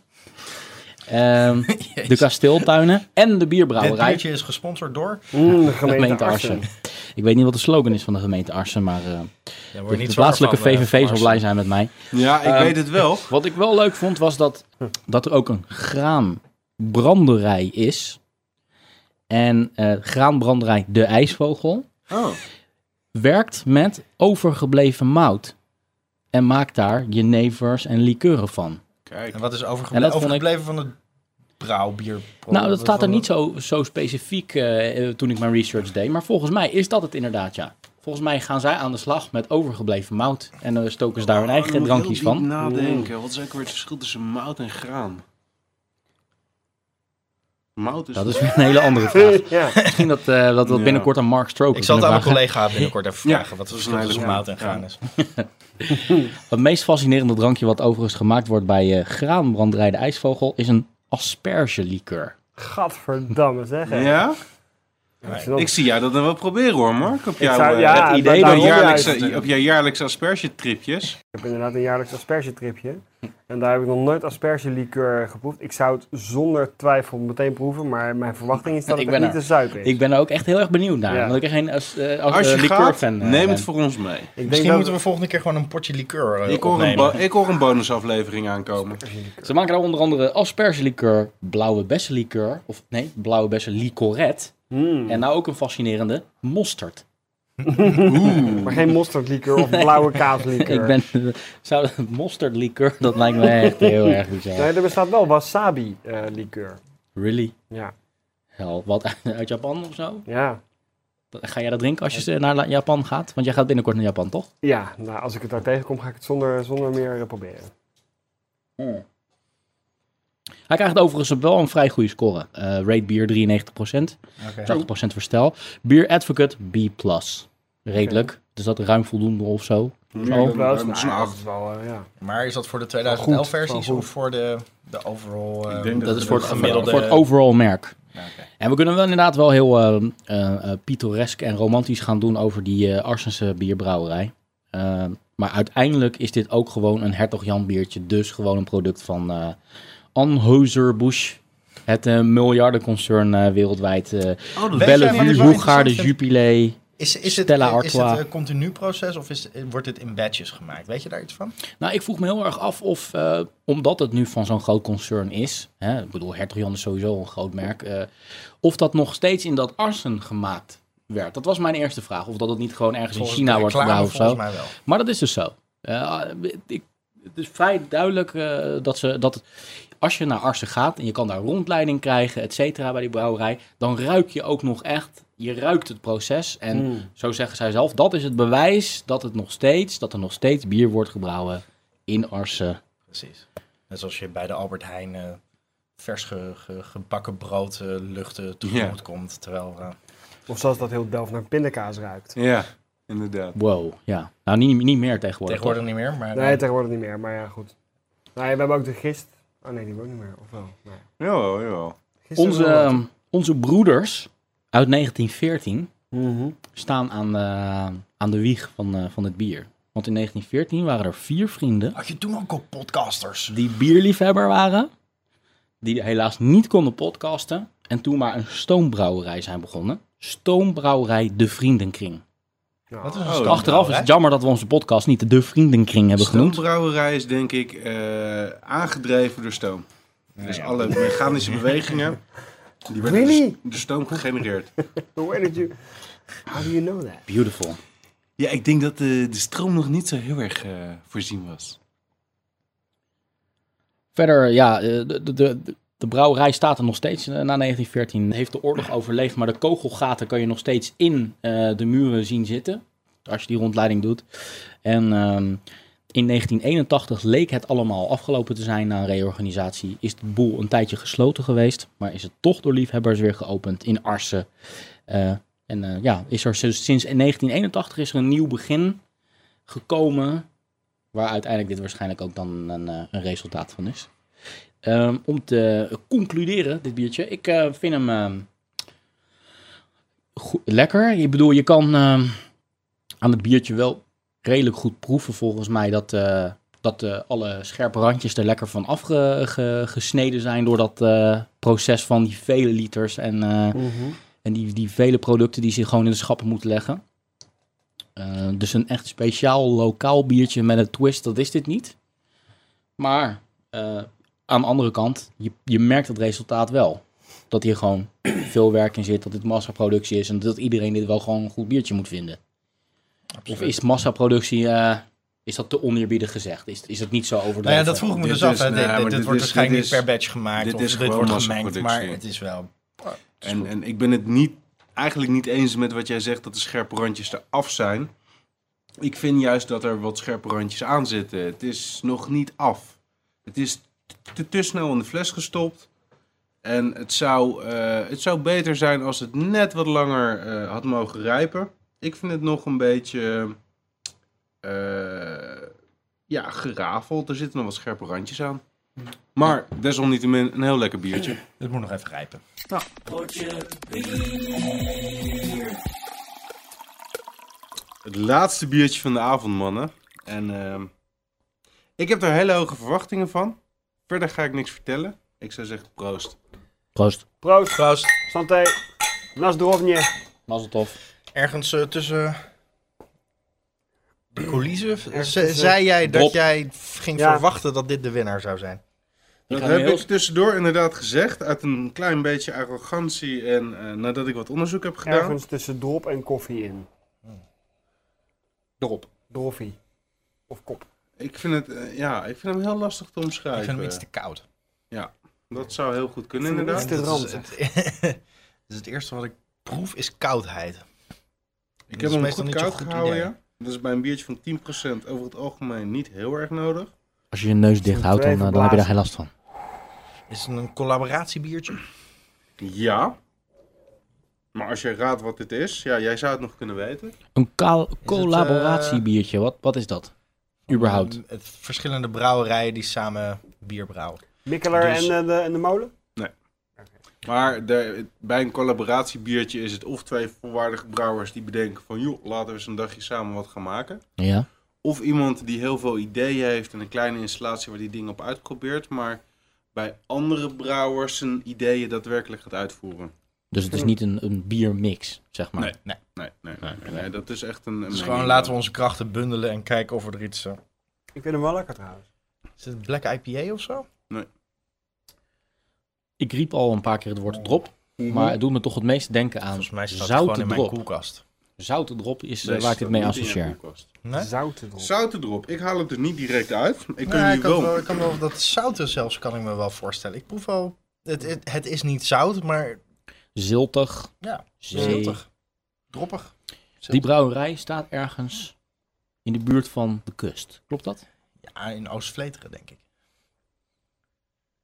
A: ehm, de kasteeltuinen en de
C: Dit
A: bierbrouwerij.
C: biertje is gesponsord door.
B: Mm, de
A: de
B: gemeente, Arsen.
A: Ik weet niet wat de slogan is van de gemeente Arsen, maar eh,
C: Ja,
A: de, de plaatselijke
G: eh,
C: eh,
A: VVV zal blij zijn met mij.
D: Ja, ik
A: Ehm,
D: weet het wel.
A: Wat ik wel leuk vond was dat, dat er ook een graanbranderij is. En eh, graanbranderij De IJsvogel.
D: Oh.
A: werkt met overgebleven mout. En maakt daar jenevers en likeuren van.
D: Kijk.
C: En wat is
A: En
C: overgeble-
A: dat vond ik-
C: overgebleven van het brouwbier?
A: nou, dat staat er
C: van
A: niet
C: de-
A: zo, zo specifiek eh, eh, toen ik mijn research deed. Maar volgens mij is dat het inderdaad, ja. Volgens mij gaan zij aan de slag met overgebleven mout. En Oh, dan stoken ze daar hun eigen drankjes van.
D: nadenken. Wat is ook weer het verschil tussen mout en graan? Mout is...
A: Dat is weer een hele andere vraag.
B: *laughs* Ja.
A: Misschien dat, eh, dat we dat
D: Ja.
A: binnenkort aan Mark Stroker
C: Ik zal het aan
A: kunnen
C: mijn
A: vragen.
C: collega binnenkort even
D: Ja,
C: vragen. wat het
D: dat is
C: verschil
D: een
C: tussen
D: hele-
C: maat en
D: ja.
C: gaan is.
A: Het meest fascinerende drankje wat overigens gemaakt wordt bij eh graanbranderij De IJsvogel... is een aspergelikeur.
B: Gadverdamme zeg. hè.
D: Ja?
B: Dat is dan-
D: Ik zie jou dat dan wel proberen hoor, Mark. Op jouw,
B: zou-
D: eh,
B: ja,
D: op
A: het idee
D: jouw
A: daarom
D: jaarlijkse,
B: juist.
D: op jouw jaarlijkse aspergetripjes.
B: Ik heb inderdaad een jaarlijks aspergetripje. En daar heb ik nog nooit aspergelikeur geproefd. Ik zou het zonder twijfel meteen proeven, maar mijn verwachting is dat
A: Ik
B: het
A: ben
B: niet
A: er.
B: te zuipen is.
A: Ik ben er ook echt heel erg benieuwd naar.
B: Ja.
A: Omdat ik er geen als, eh, als,
D: Als je
A: eh,
D: gaat,
A: liqueurfan, eh,
D: neem het
A: ben.
D: voor ons mee.
B: Ik
G: Misschien
B: denk dat-
G: moeten we volgende keer gewoon een potje liqueur eh,
D: Ik hoor, een
G: opnemen.
D: bo- ik hoor een bonusaflevering aankomen.
A: Ze maken daar onder andere aspergelikeur, blauwe bessenlikeur, of nee, blauwe bessenlicoret.
B: Hmm.
A: En nou ook een fascinerende mosterd.
B: Maar geen mosterdlikeur *laughs* of blauwe kaaslikeur.
A: Ik ben, *laughs* zou mosterdlikeur, dat lijkt me echt heel erg bizar.
B: Nee, er bestaat wel eh, wasabi-likeur.
A: Really?
B: ja.
A: Hel, wat *laughs* uit Japan of zo?
B: Ja.
A: Ga jij dat drinken als je naar La- Japan gaat? Want jij gaat binnenkort naar Japan, toch?
B: ja, nou als ik het daar tegenkom ga ik het zonder, zonder meer eh, proberen.
A: Hij krijgt overigens wel een vrij goede score. Eh rate bier 93%.
G: Oké.
A: Dus 80% verstel. Beer Advocate B+. Redelijk. Dus dat ruim voldoende of zo.
D: Dan-
B: wel
D: dan-
B: maar
D: zo'n
B: dat
D: avond.
B: is wel, eh, ja.
G: Maar is dat voor de
B: Wel
G: 2011
B: goed,
G: versies
B: wel goed.
G: of voor de, de overall? eh,
D: Ik denk
A: Dat is
D: we
A: voor
D: de
A: het,
G: gemiddelde-
A: voor het overall merk.
G: Ja, oké.
A: En we kunnen wel inderdaad wel heel eh eh, eh, pittoresk en romantisch gaan doen over die eh, Arsense bierbrouwerij. Eh, maar uiteindelijk is dit ook gewoon een Hertog Jan biertje. Dus gewoon een product van eh Anheuser-Busch. Het eh, miljardenconcern eh, wereldwijd. eh
D: Oh, dat
G: Weet jij wat ik
A: Bellevue,
G: wel
A: Hoegaarden,
G: interessant vind?
A: Jupilee.
G: Is, is, het,
A: Stella
G: is het
A: Artois.
G: een continu proces of is, wordt dit in batches gemaakt? Weet je daar iets van?
A: Nou, ik vroeg me heel erg af of, eh, omdat het nu van zo'n groot concern is, hè, ik bedoel, Hertog Jan is sowieso een groot merk, eh, of dat nog steeds in dat arsen gemaakt werd. Dat was mijn eerste vraag. Of dat het niet gewoon ergens
G: Volgens
A: in China
G: de
A: wordt
G: reclame
A: gebrouwen of zo.
G: Volgens mij wel.
A: Maar dat is dus zo. Eh, ik, het is vrij duidelijk eh, dat, ze, dat het- als je naar Arsen gaat en je kan daar rondleiding krijgen, et cetera, bij die brouwerij, dan ruik je ook nog echt, je ruikt het proces. En
B: Hmm.
A: zo zeggen zij zelf, dat is het bewijs dat, het nog steeds, dat er nog steeds bier wordt gebrouwen in Arsen.
G: Precies. Net zoals je bij de Albert Heijn eh, vers ge- ge- gebakken brood eh, luchten tegemoet komt. Terwijl, eh,
B: Of zoals dat heel Delft naar pindakaas ruikt.
D: Ja, inderdaad.
A: Wow, ja. Nou, niet, niet meer tegenwoordig.
G: tegenwoordig niet meer. Maar, eh,
B: Nee, tegenwoordig niet meer, maar ja, goed. Nee, we hebben ook de gist. Oh nee, die hebben we ook niet meer. Of wel? Nee.
D: Jawel, jawel.
A: toch?
B: Gist is
A: Onze,
B: wel wat.
A: ehm, onze broeders uit 1914
B: Mhm.
A: staan aan de, aan de wieg van, eh, van het bier. Want in 1914 waren er vier vrienden
G: Had je toen ook al podcasters?
A: die bierliefhebber waren, die helaas niet konden podcasten en toen maar een stoombrouwerij zijn begonnen. Stoombrouwerij De Vriendenkring.
B: Nou,
G: Wat is een
D: Oh,
G: stoombrouwerij?
A: Achteraf is het jammer dat we onze podcast niet De Vriendenkring hebben genoemd.
D: Stoombrouwerij is denk ik eh, aangedreven door stoom. Dus alle mechanische bewegingen, die werden
B: Really?
D: door s- door stoom gegenereerd.
B: Where did you... How do you know that?
A: Beautiful.
D: Ja, ik denk dat eh, de, de stroom nog niet zo heel erg eh, voorzien was.
A: Verder, ja, eh, de, de, de, de brouwerij staat er nog steeds eh, na 1914. Heeft de oorlog overleefd, maar de kogelgaten kan je nog steeds in eh, de muren zien zitten. Als je die rondleiding doet. En ehm, in 1981 leek het allemaal afgelopen te zijn na een reorganisatie. Is de boel een tijdje gesloten geweest, maar is het toch door liefhebbers weer geopend in Arsen. Eh, en eh, ja, is er sinds sinds 1981 is er een nieuw begin gekomen Waar uiteindelijk dit waarschijnlijk ook dan een, eh, een resultaat van is. Ehm, om te concluderen, dit biertje. Ik eh, vind hem ehm, goe- lekker. Ik bedoel, je kan ehm, aan het biertje wel redelijk goed proeven volgens mij dat, eh, dat eh, alle scherpe randjes er lekker van afgesneden zijn door dat eh, proces van die vele liters en, eh,
B: Mhm.
A: en die, die vele producten die ze gewoon in de schappen moeten leggen. Eh, dus een echt speciaal lokaal biertje met een twist, dat is dit niet. Maar eh, aan de andere kant, je, je merkt het resultaat wel. Dat hier gewoon *clears throat* veel werk in zit, dat dit massaproductie is en dat iedereen dit wel gewoon een goed biertje moet vinden. Of is massaproductie, eh, is dat te oneerbiedig gezegd? Is, is het niet zo overdreven?
G: Nou ja, dat vroeg ik me
D: Dit
G: dus af.
D: is-
G: hè.
D: nou,
G: Dit,
D: maar
G: dit,
D: dit
G: dit
D: is-
G: wordt waarschijnlijk
D: dit
G: niet
D: is-
G: per batch gemaakt
D: dit
G: of
D: is
G: dit
D: gewoon
G: wordt gemengd, maar
D: massaproductie.
G: het is wel...
D: En, en ik ben het niet, eigenlijk niet eens met wat jij zegt dat de scherpe randjes eraf zijn. Ik vind juist dat er wat scherpe randjes aan zitten. Het is nog niet af. Het is te, te snel in de fles gestopt. En het zou, eh, het zou beter zijn als het net wat langer eh, had mogen rijpen. Ik vind het nog een beetje eh, ja, gerafeld. Er zitten nog wat scherpe randjes aan. Maar desalniettemin een heel lekker biertje.
G: Het moet nog even rijpen.
D: Het laatste biertje van de avond, mannen. En ehm, ik heb er hele hoge verwachtingen van. Verder ga ik niks vertellen. Ik zou zeggen proost.
A: Proost.
B: Proost,
G: Proost.
B: santé, nasdrovnje.
A: Mazeltof.
G: Ergens eh, tussen de coulissen ze-
B: tussen-
G: zei jij dat
A: Drop.
G: jij ging
B: Ja.
G: verwachten dat dit de winnaar zou zijn.
A: Ik
D: Dat
A: ga nu
D: heb
A: heel-
D: ik tussendoor inderdaad gezegd. Uit een klein beetje arrogantie en eh, nadat ik wat onderzoek heb gedaan.
B: Ergens tussen drop en koffie in.
D: Erop.
B: Droffie. Of kop.
D: Ik vind, het, eh, ja, ik vind hem heel lastig te
G: Ik vind
D: omschrijven.
G: hem iets te koud.
D: Dat zou heel goed kunnen
B: Ik vind hem
D: inderdaad.
B: iets te
G: Dat is,
B: ranzig.
G: het, *laughs* dat is het eerste wat ik proef, is koudheid.
D: Ik
G: Dat
D: heb
G: is
D: hem
G: meestal niet
D: goed
G: zo'n
D: koud
G: goed
D: gehouden,
G: idee.
D: ja. Dat is bij een biertje van 10% over het algemeen niet heel erg nodig.
A: Als je je neus dicht houdt, dan, eh, dan heb je daar geen last van.
G: Is het een collaboratiebiertje?
D: Ja. Maar als je raadt wat dit is, ja, jij zou het nog kunnen weten.
A: Een kaal-
G: eh,
A: collaboratiebiertje, wat, wat is dat? Überhaupt.
G: Mm, Het, verschillende brouwerijen die samen bier brouwen.
B: Mikkeler
G: Dus-
B: en, eh, de, en de molen?
D: Maar de- bij een collaboratiebiertje is het of twee volwaardige brouwers die bedenken van... joh, laten we eens een dagje samen wat gaan maken.
G: ehm,
A: Ja.
D: Of iemand die heel veel ideeën heeft en een kleine installatie waar die dingen op uitprobeert. Maar bij andere brouwers zijn ideeën daadwerkelijk gaat uitvoeren.
A: Dus
G: Hm.
A: het is niet een, een biermix, zeg maar.
D: Nee. Nee, nee, nee. nee, nee, dat is echt een...
G: Dus gewoon laten we onze krachten bundelen en kijken of we er iets... eh,
B: Ik vind hem wel lekker trouwens.
G: is het een Black IPA of zo?
A: Ik riep al een paar keer het woord drop, maar het doet me toch het meest denken aan
G: Mhm. Volgens mij staat het gewoon
A: zoute
G: in mijn
A: drop.
G: koelkast.
A: Zoute drop is eh,
D: Deze
A: waar ik dit mee
D: staat niet in je
A: associeer.
D: koelkast.
G: Nee?
B: Zouten drop.
D: Zouten erop. Ik haal het er niet direct uit. Ik kan
G: Nou,
D: jullie
G: ik, kan
D: wel...
G: wel, ik kan wel dat zouten zelfs kan ik me wel voorstellen. Ik proef wel. Het, het, het is niet zout, maar
A: Ziltig.
G: ja,
A: Zee.
G: ziltig. Droppig.
A: Die brouwerij staat ergens in de buurt van de kust. Klopt dat?
G: Ja, in Oost-Vleteren, denk ik.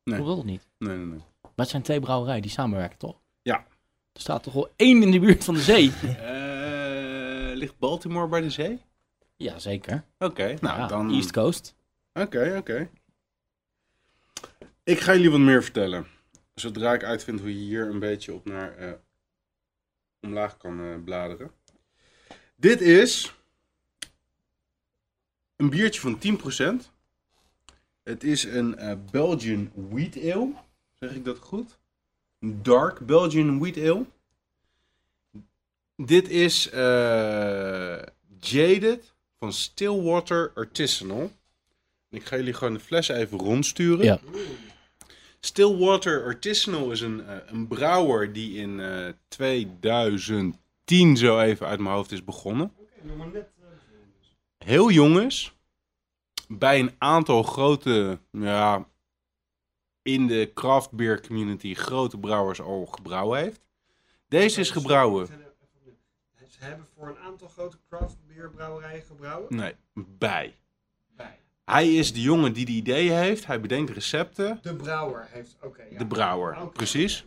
D: Nee.
A: Klopt dat of niet? *laughs*
D: Nee, nee, nee.
A: Maar het zijn twee brouwerijen die samenwerken, toch?
D: Ja.
A: Er staat toch wel één in de buurt van de
D: *laughs*
A: zee?
D: Eh, ligt Baltimore bij de zee?
A: Jazeker.
D: Oké, nou
A: Ja,
D: dan...
A: East Coast.
D: Oké, oké. Ik ga jullie wat meer vertellen. Zodra ik uitvind hoe je hier een beetje op naar eh, omlaag kan eh, bladeren. Dit is een biertje van 10%. Het is een eh, Belgian Wheat Ale. Zeg ik dat goed? Een dark Belgian Wheat Ale. Dit is eh, Jaded van Stillwater Artisanal. Ik ga jullie gewoon de fles even rondsturen.
A: Ja.
D: Stillwater Artisanal is een, eh, een brouwer die in eh, 2010 zo even uit mijn hoofd is begonnen.
B: eh,
D: Heel jong is. Bij een aantal grote, ja, in de craft beer community grote brouwers al gebrouwen heeft. Deze is gebrouwen.
B: Ze hebben voor een aantal grote craft bierbrouwerijen gebrouwen.
D: Nee, bij. Hij is de jongen die de ideeën heeft. Hij bedenkt recepten.
B: De brouwer heeft, oké.
D: De brouwer, precies.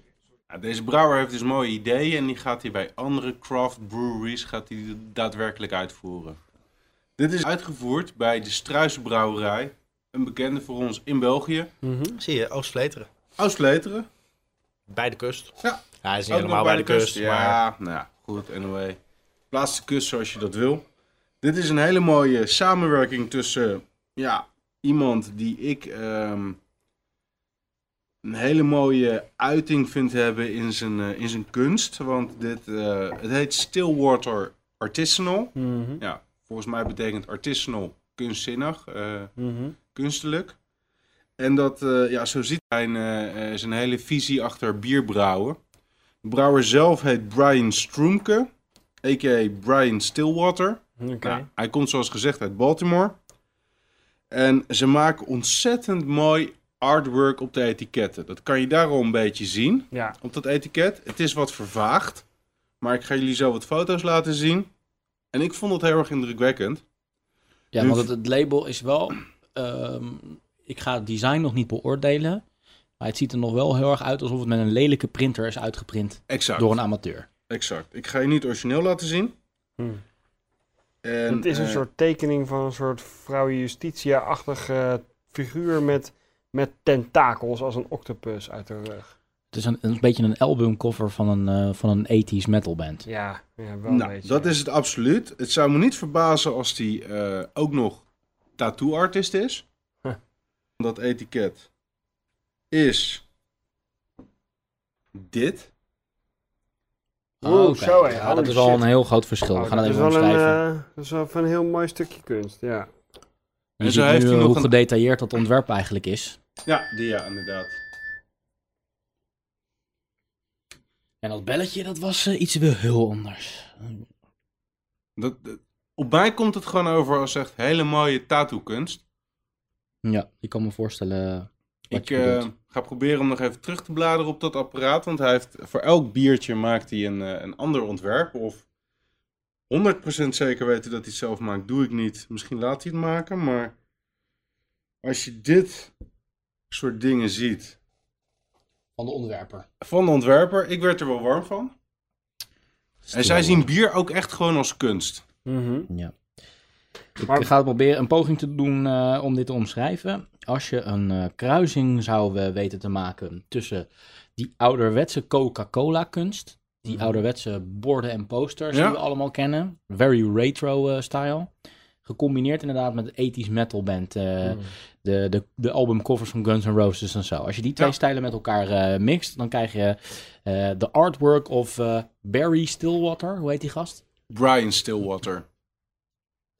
D: Nou, deze brouwer heeft dus mooie ideeën en die gaat hij bij andere craft breweries gaat hij daadwerkelijk uitvoeren. Dit is uitgevoerd bij de Struisbrouwerij, een bekende voor ons in België.
B: Mhm,
G: Zie je, Oost-Vleteren.
D: Oostleteren.
G: Bij de kust.
D: Ja.
G: Hij is niet
D: Ook
G: helemaal
D: nog
G: bij de, kust, maar
D: Ja, nou ja, goed, anyway. Plaats de kust zoals je dat wil. Dit is een hele mooie samenwerking tussen ja, iemand die ik ehm, een hele mooie uiting vind hebben in zijn, eh, in zijn kunst. Want dit, eh, het heet Stillwater Artisanal.
B: mhm,
D: Ja, volgens mij betekent artisanal kunstzinnig, eh,
B: mhm.
D: kunstelijk. En dat, eh, ja, zo ziet hij een, eh, eh, zijn hele visie achter bierbrouwen. De brouwer zelf heet Brian Stroemke, a.k.a. Brian Stillwater.
B: Oké.
D: Nou, hij komt zoals gezegd uit Baltimore. En ze maken ontzettend mooi artwork op de etiketten. Dat kan je daar al een beetje zien,
B: Ja.
D: op dat etiket. Het is wat vervaagd, maar ik ga jullie zo wat foto's laten zien. En ik vond het heel erg indrukwekkend.
A: Ja,
B: Dus-
D: Nu-
A: want het, het label is wel... ehm, ik ga het design nog niet beoordelen. Maar het ziet er nog wel heel erg uit alsof het met een lelijke printer is uitgeprint
D: Exact,
A: door een amateur.
D: exact. Ik ga je niet origineel laten zien.
B: Hmm.
D: En,
B: het is een
D: eh,
B: soort tekening van een soort vrouw Justitia-achtig eh, figuur met met tentakels als een octopus uit de rug.
A: Het is een, een beetje een albumcover van een, eh, van een 80s metal band.
B: Ja, ja wel een
D: Nou,
B: beetje.
D: dat is het absoluut. Het zou me niet verbazen als die eh, ook nog tattoo-artist is.
B: Huh.
D: Dat etiket is dit.
B: Oeh, zo, hè.
A: Ja, dat
B: Holy
A: is al
B: shit.
A: een heel groot verschil.
B: Oh,
A: We gaan dat
B: dat
A: even
B: is wel een,
A: omschrijven.
B: eh, dat is wel een heel mooi stukje kunst, ja.
A: Je
B: dus
D: En zo
A: ziet
D: heeft
A: nu
D: hij
A: eh,
D: nog
A: hoe
D: een-
A: gedetailleerd dat ontwerp eigenlijk is.
D: Ja, die ja, inderdaad.
A: En dat belletje, dat was eh, iets wel heel anders.
D: Dat, dat- op mij komt het gewoon over als echt hele mooie tattoo-kunst.
A: Ja, ik kan me voorstellen. Wat
D: Ik
A: je
D: eh,
A: bedoelt.
D: ga proberen om nog even terug te bladeren op dat apparaat. Want hij heeft, voor elk biertje maakt hij een, eh, een ander ontwerp. Of 100% zeker weten dat hij het zelf maakt, doe ik niet. Misschien laat hij het maken, maar als je dit soort dingen ziet
A: Van de ontwerper.
D: van de ontwerper, ik werd er wel warm van. En zij zien bier ook echt gewoon als kunst.
A: Ja. Ik
B: Maar- eh,
A: ga proberen een poging te doen eh, om dit te omschrijven. Als je een eh, kruising zou eh, weten te maken tussen die ouderwetse Coca-Cola kunst, die ouderwetse borden en posters
D: Mhm. Ja.
A: die we allemaal kennen, very retro eh, style, gecombineerd inderdaad met de 80s metal band, eh,
D: Mhm.
A: de, de, de albumcovers van Guns N' Roses en zo. Als je die twee
D: Ja.
A: stijlen met elkaar eh, mixt, dan krijg je eh, de artwork of eh, Barry Stillwater, hoe heet die gast?
D: Brian Stillwater.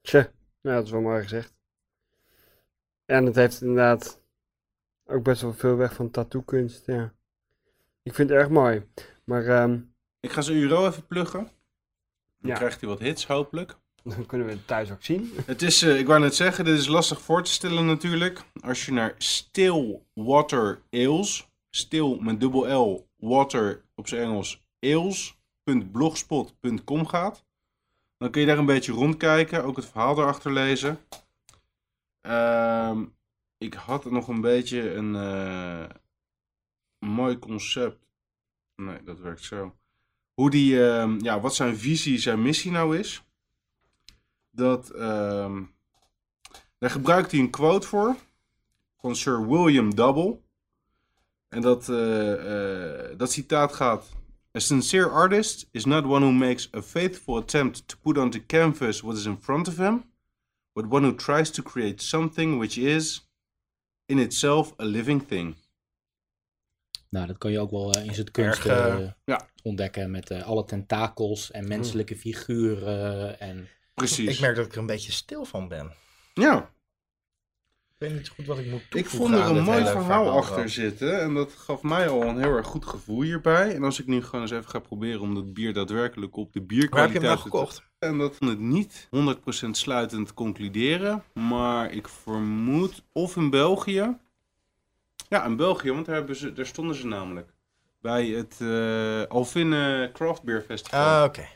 B: Tja, ja, dat is wel mooi gezegd. En het heeft inderdaad ook best wel veel weg van tattoo-kunst, ja. Ik vind het erg mooi. Maar ehm,
D: Ik ga zijn URL even pluggen. Dan
B: Ja.
D: krijgt hij wat hits, hopelijk.
B: *laughs* dan kunnen we het thuis ook zien.
D: Het is, eh, ik wou net zeggen, dit is lastig voor te stellen natuurlijk. Als je naar Stillwater Ales, stil met dubbel L, water op zijn Engels, ales.blogspot.com gaat. Dan kun je daar een beetje rondkijken, ook het verhaal erachter lezen. Ehm, ik had nog een beetje een eh, mooi concept. Nee, dat werkt zo. Hoe die, ehm, ja, wat zijn visie, zijn missie nou is dat. ehm, daar gebruikt hij een quote voor. Van Sir William Double. En dat, eh, eh, dat citaat gaat. A sincere artist is not one who makes a faithful attempt to put on the canvas what is in front of him, but one who tries to create something which is in itself a living thing.
A: Nou, dat kan je ook wel eh, in zijn kunst
G: Erg,
A: eh,
G: eh,
D: ja.
A: ontdekken met eh, alle tentakels en menselijke figuren. En...
D: Precies.
G: Ik merk dat ik er een beetje stil van ben.
D: Ja,
G: Ik weet niet goed wat ik moet toevoegen.
D: ik vond er
G: aan
D: een
G: dit
D: mooi
G: hele
D: verhaal, achter
G: wel.
D: zitten. En dat gaf mij al een heel erg goed gevoel hierbij. En als ik nu gewoon eens even ga proberen om dat bier daadwerkelijk op de bierkwaliteit
G: Waar heb je hem nou
D: te-
G: gekocht?
D: En dat kan het niet 100% sluitend concluderen. Maar ik vermoed of in België. Ja, in België, want daar, hebben ze, daar stonden ze namelijk. Bij het eh Alvinne Craft Beer Festival.
G: Ah, oké.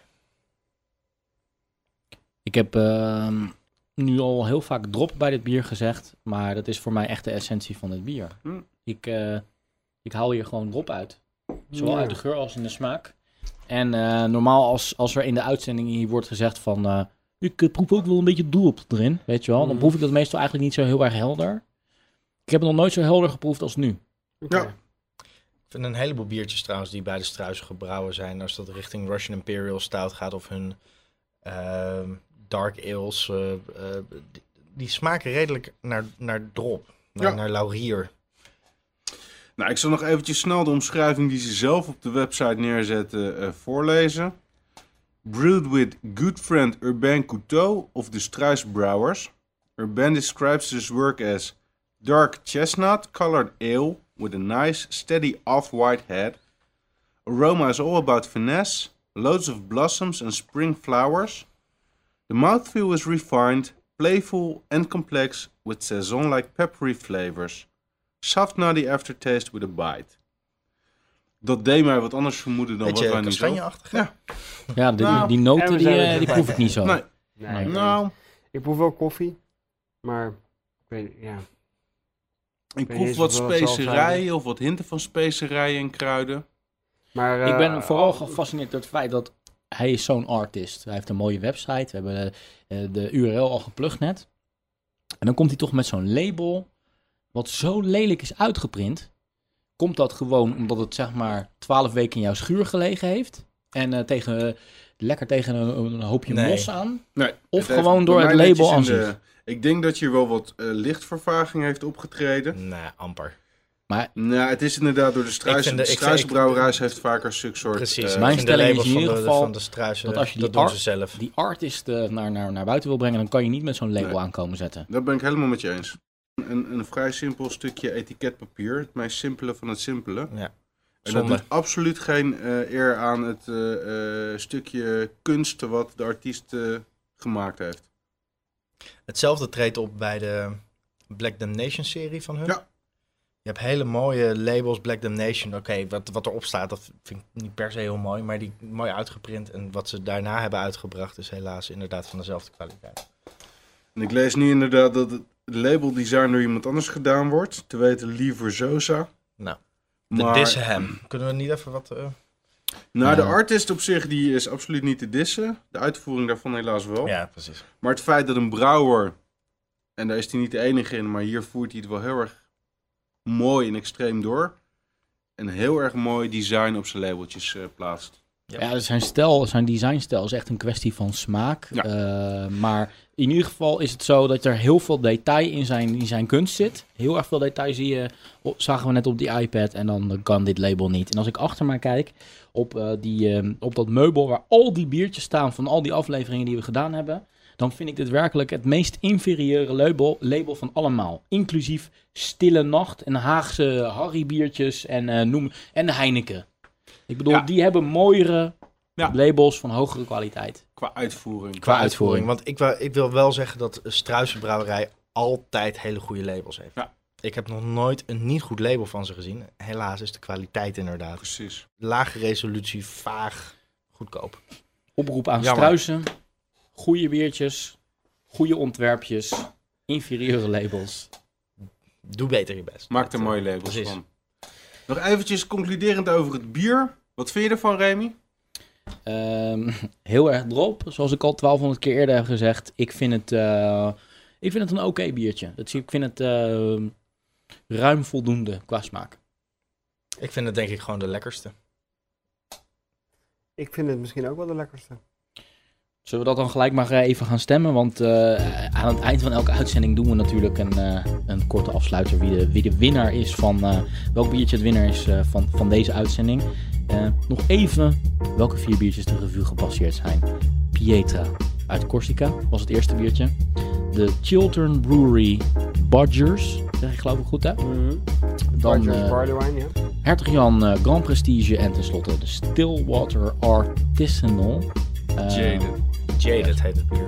A: Ik heb ehm, nu al heel vaak drop bij dit bier gezegd, maar dat is voor mij echt de essentie van het bier.
D: Hm.
A: Ik, eh, ik haal hier gewoon drop uit. Zowel
B: Ja.
A: uit de geur als in de smaak. En eh, normaal als, als er in de uitzending hier wordt gezegd van... eh, ik eh, proef ook wel een beetje drop erin, weet je wel. Dan
B: Mhm.
A: proef ik dat meestal eigenlijk niet zo heel erg helder. Ik heb het nog nooit zo helder geproefd als nu.
B: Oké.
D: Ja.
G: Ik vind een heleboel biertjes trouwens die bij de struisen gebrouwen zijn. Als dat richting Russian Imperial Stout gaat of hun ehm, Dark Ales. eh, eh, die, die smaken redelijk naar, naar drop. Naar,
D: Ja.
G: naar laurier.
D: Nou, ik zal nog eventjes snel de omschrijving die ze zelf op de website neerzetten eh, voorlezen. Brewed with good friend Urbain Couteau of de Struis Brouwers. Urbain describes this work as dark chestnut colored ale with a nice steady off-white head. Aroma is all about finesse, loads of blossoms and spring flowers. The mouthfeel is refined, playful and complex with saison-like peppery flavors. Soft nutty aftertaste with a bite. Dat deed mij wat anders vermoeden dan
G: Beetje
D: wat wij nu zo...
G: kastanjeachtig. hè?
A: Ja, de-
D: Nou,
A: die
B: en we
A: noten die,
B: zijn
A: eh,
B: weer
A: die
B: terug
A: proef ik niet zo.
D: Nee,
B: Nee,
A: Nee.
B: ik-
D: nou...
B: Ik proef wel koffie, maar ik weet ja. weet
D: Ik proef
B: niet
D: wat
B: of dat zal zijn.
D: specerijen of wat hinten van specerijen en kruiden.
B: Maar, eh,
A: Ik ben vooral gefascineerd door het feit dat hij is zo'n artist. Hij heeft een mooie website. We hebben eh, eh, de URL al geplukt net. En dan komt hij toch met zo'n label wat zo lelijk is uitgeprint, komt dat gewoon omdat het zeg maar twaalf weken in jouw schuur gelegen heeft en eh, tegen, lekker tegen een, een hoopje
C: Nee.
A: mos aan.
D: Nee,
A: Of
D: heeft
A: gewoon
D: bij
A: door
D: mij
A: het label
D: netjes in
A: aan
D: de- Ik denk dat je wel wat eh, lichtvervaging heeft opgetreden.
C: Nee, amper.
D: Nou, het is inderdaad door de
C: Ik vind de-
D: struis,
C: ik- ik-
D: struisbrouwerij heeft vaker een stuk soort...
C: Precies.
D: eh,
A: Mijn
C: Ik vind de
A: stelling
C: labels
A: is in
C: van
A: ieder
C: de-
A: geval
C: van de struisen,
A: dat als je die
C: dat doen
A: art-
C: ze zelf.
A: Die artist eh, naar, naar, naar buiten wil brengen, dan kan je niet met zo'n label
D: Nee.
A: aankomen zetten.
D: dat ben ik helemaal met je eens. Een, een vrij simpel stukje etiketpapier. Het meest simpele van het simpele.
C: Ja.
D: En dat
C: Zonde.
D: doet absoluut geen eh, eer aan het eh, eh, stukje kunst wat de artiest eh, gemaakt heeft.
C: Hetzelfde treedt op bij de Black Damnation serie van hun.
D: Ja.
C: Je hebt hele mooie labels, Black Damnation. Oké, wat, wat erop staat, dat vind ik niet per se heel mooi. Maar die mooi uitgeprint en wat ze daarna hebben uitgebracht... is helaas inderdaad van dezelfde kwaliteit.
D: En ik lees nu inderdaad dat het labeldesign door iemand anders gedaan wordt. Te weten Liever Sosa.
C: Nou, De
D: Maar,
C: Diss Hem. Kunnen we niet even wat... eh,
D: nou, de
C: Ja.
D: artist op zich die is absoluut niet te dissen. De uitvoering daarvan helaas wel.
C: Ja, precies.
D: Maar het feit dat een brouwer, en daar is hij niet de enige in, maar hier voert hij het wel heel erg mooi en extreem door. En heel erg mooi design op zijn labeltjes eh, plaatst.
C: Ja.
A: Ja, dus zijn stijl, zijn designstijl is echt een kwestie van smaak.
D: Ja.
A: Eh, maar in ieder geval is het zo dat er heel veel detail in zijn, in zijn kunst zit. Heel erg veel detail zie je, op- zagen we net op die iPad en dan kan dit label niet. En als ik achter mij kijk op, eh, die, eh, op dat meubel waar al die biertjes staan van al die afleveringen die we gedaan hebben... dan vind ik dit werkelijk het meest inferieure label, label van allemaal. Inclusief Stille Nacht en Haagse Harry biertjes en, eh, noem, en Heineken. Ik bedoel,
J: Ja.
A: die hebben mooiere
J: Ja.
A: labels van hogere kwaliteit.
J: Qua uitvoering.
A: Qua uitvoering.
C: Want ik, wou- ik wil wel zeggen dat Struisenbrouwerij altijd hele goede labels heeft.
J: Ja.
C: Ik heb nog nooit een niet goed label van ze gezien. Helaas is de kwaliteit inderdaad.
D: Precies.
C: Lage resolutie, vaag, goedkoop.
A: Oproep aan
C: Jammer.
A: struisen. Goede biertjes. Goede ontwerpjes. Inferieure labels.
C: Doe beter je best.
J: Maakt er
C: Dat, eh,
J: mooie labels
C: precies.
J: van.
D: Nog eventjes concluderend over het bier. Wat vind je ervan, Remy?
A: Ehm, heel erg drop. Zoals ik al 1200 keer eerder heb gezegd. Ik vind het, eh, ik vind het een oké biertje. Het, ik vind het ehm, ruim voldoende qua smaak.
C: Ik vind het denk ik gewoon de lekkerste.
B: Ik vind het misschien ook wel de lekkerste.
A: Zullen we dat dan gelijk maar eh, even gaan stemmen? Want eh, aan het eind van elke uitzending doen we natuurlijk een, eh, een korte afsluiter. Wie de, wie de winnaar is van. eh, welk biertje het winnaar is eh, van, van deze uitzending. Eh, nog even welke vier biertjes de revue gepasseerd zijn: Pietra uit Corsica was het eerste biertje. De Chiltern Brewery Badgers. Zeg ik geloof ik goed, hè? Mhm. Dan,
B: Barley
A: eh,
B: barley wine, ja.
A: Hertog Jan eh, Grand Prestige. En tenslotte de Stillwater Artisanal. Eh,
C: Jade, dat heet het bier.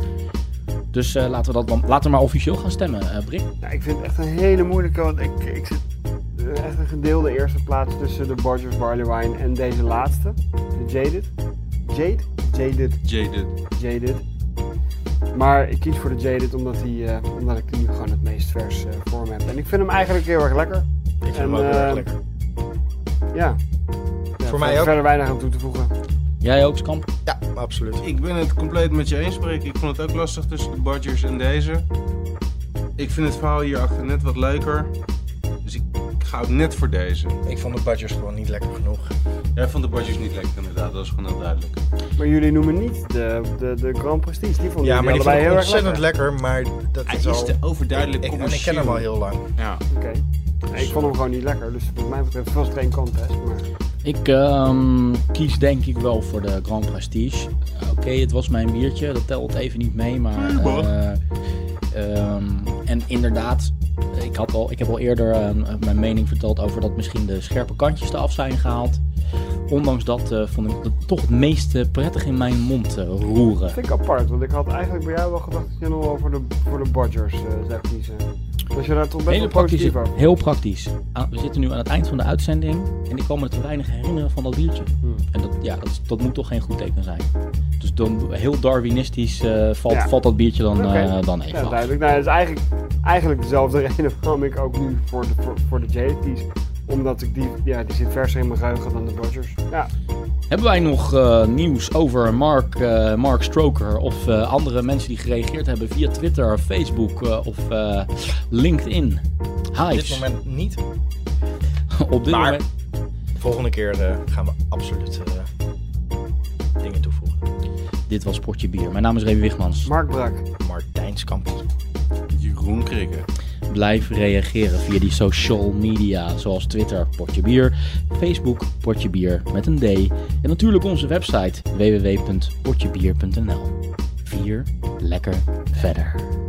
A: Dus eh, laten we dat dan, laten we maar officieel gaan stemmen, eh Brik.
B: Ja, ik vind het echt een hele moeilijke, want ik, ik zit eh, echt een gedeelde eerste plaats tussen de Borges Barley Wine en deze laatste, de Jaded. Jade? Jaded,
J: Jaded.
B: Jaded. Maar ik kies voor de Jaded omdat, die, eh, omdat ik die nu gewoon het meest vers eh, voor me heb. En ik vind hem eigenlijk heel erg lekker.
C: Ik vind hem
B: En,
C: ook heel erg
B: eh,
C: lekker.
B: Ja. Ja,
C: Voor mij
B: ver-
C: ook.
B: Verder weinig aan toe te voegen.
A: Jij ook, Skamp?
C: Ja, absoluut.
D: Ik ben het compleet met je eens, Brik. Ik vond het ook lastig tussen de Badgers en deze. Ik vind het verhaal hierachter net wat leuker. Dus ik ga ook net voor deze.
C: Ik vond de Badgers gewoon niet lekker genoeg.
D: Jij vond de Badgers niet lekker, inderdaad. Dat is gewoon heel duidelijk.
B: Maar jullie noemen niet de, de, de Grand Prestige. Die vonden
C: Ja, maar die vond
B: allebei
C: ik
B: heel erg
C: ontzettend
B: lekker.
C: lekker, maar dat
J: Hij
C: is al...
J: is te overduidelijk
C: Ik, en ik
J: commercieel.
C: ken hem al heel lang.
J: Ja.
B: Oké. Nee, ik vond hem gewoon niet lekker, dus wat mij betreft was het geen contest. Maar...
A: Ik ehm, kies denk ik wel voor de Grand Prestige. Eh, Oké, het was mijn biertje, dat telt even niet mee, maar... eh, ehm, en inderdaad, ik, had al, ik heb al eerder ehm, mijn mening verteld over dat misschien de scherpe kantjes eraf zijn gehaald. Ondanks dat eh, vond ik het toch het meest eh, prettig in mijn mond eh, roeren.
B: Dat vind ik apart, want ik had eigenlijk bij jou wel gedacht dat je nog wel voor de, voor de Dodgers eh zou kiezen. Dus je daar toch best
A: Hele
B: wel positief
A: praktisch,
B: over.
A: heel praktisch. Aan- We zitten nu aan het eind van de uitzending en ik kan me te weinig herinneren van dat biertje.
B: Hmm.
A: En dat, ja, dat, is- dat moet toch geen goed teken zijn. Dus dan, heel darwinistisch eh, valt,
B: Ja.
A: valt dat biertje dan,
B: Oké.
A: eh, dan even
B: Ja,
A: af.
B: duidelijk. Nou, dat is eigenlijk, eigenlijk dezelfde *laughs* reden waarom ik ook nu voor de, voor, voor de Jade kies. Omdat ik die, ja, die zit verser in mijn geheugen dan de Dodgers. Ja,
A: Hebben wij nog eh, nieuws over Mark, eh, Mark Stroker of eh, andere mensen die gereageerd hebben via Twitter, Facebook eh, of eh, LinkedIn?
C: Op dit
A: Hives.
C: moment niet.
A: Op dit
C: Maar-
A: moment.
C: Volgende keer eh, gaan we absoluut eh, dingen toevoegen.
A: Dit was Potje Bier. Mijn naam is Remy Wigmans.
B: Mark Brak.
C: Martijnskamp.
D: Jeroen Krikke.
A: Blijf reageren via die social media, zoals Twitter, Potje Bier, Facebook, Potje Bier met een D. En natuurlijk onze website www.potjebier.nl. Vier lekker verder.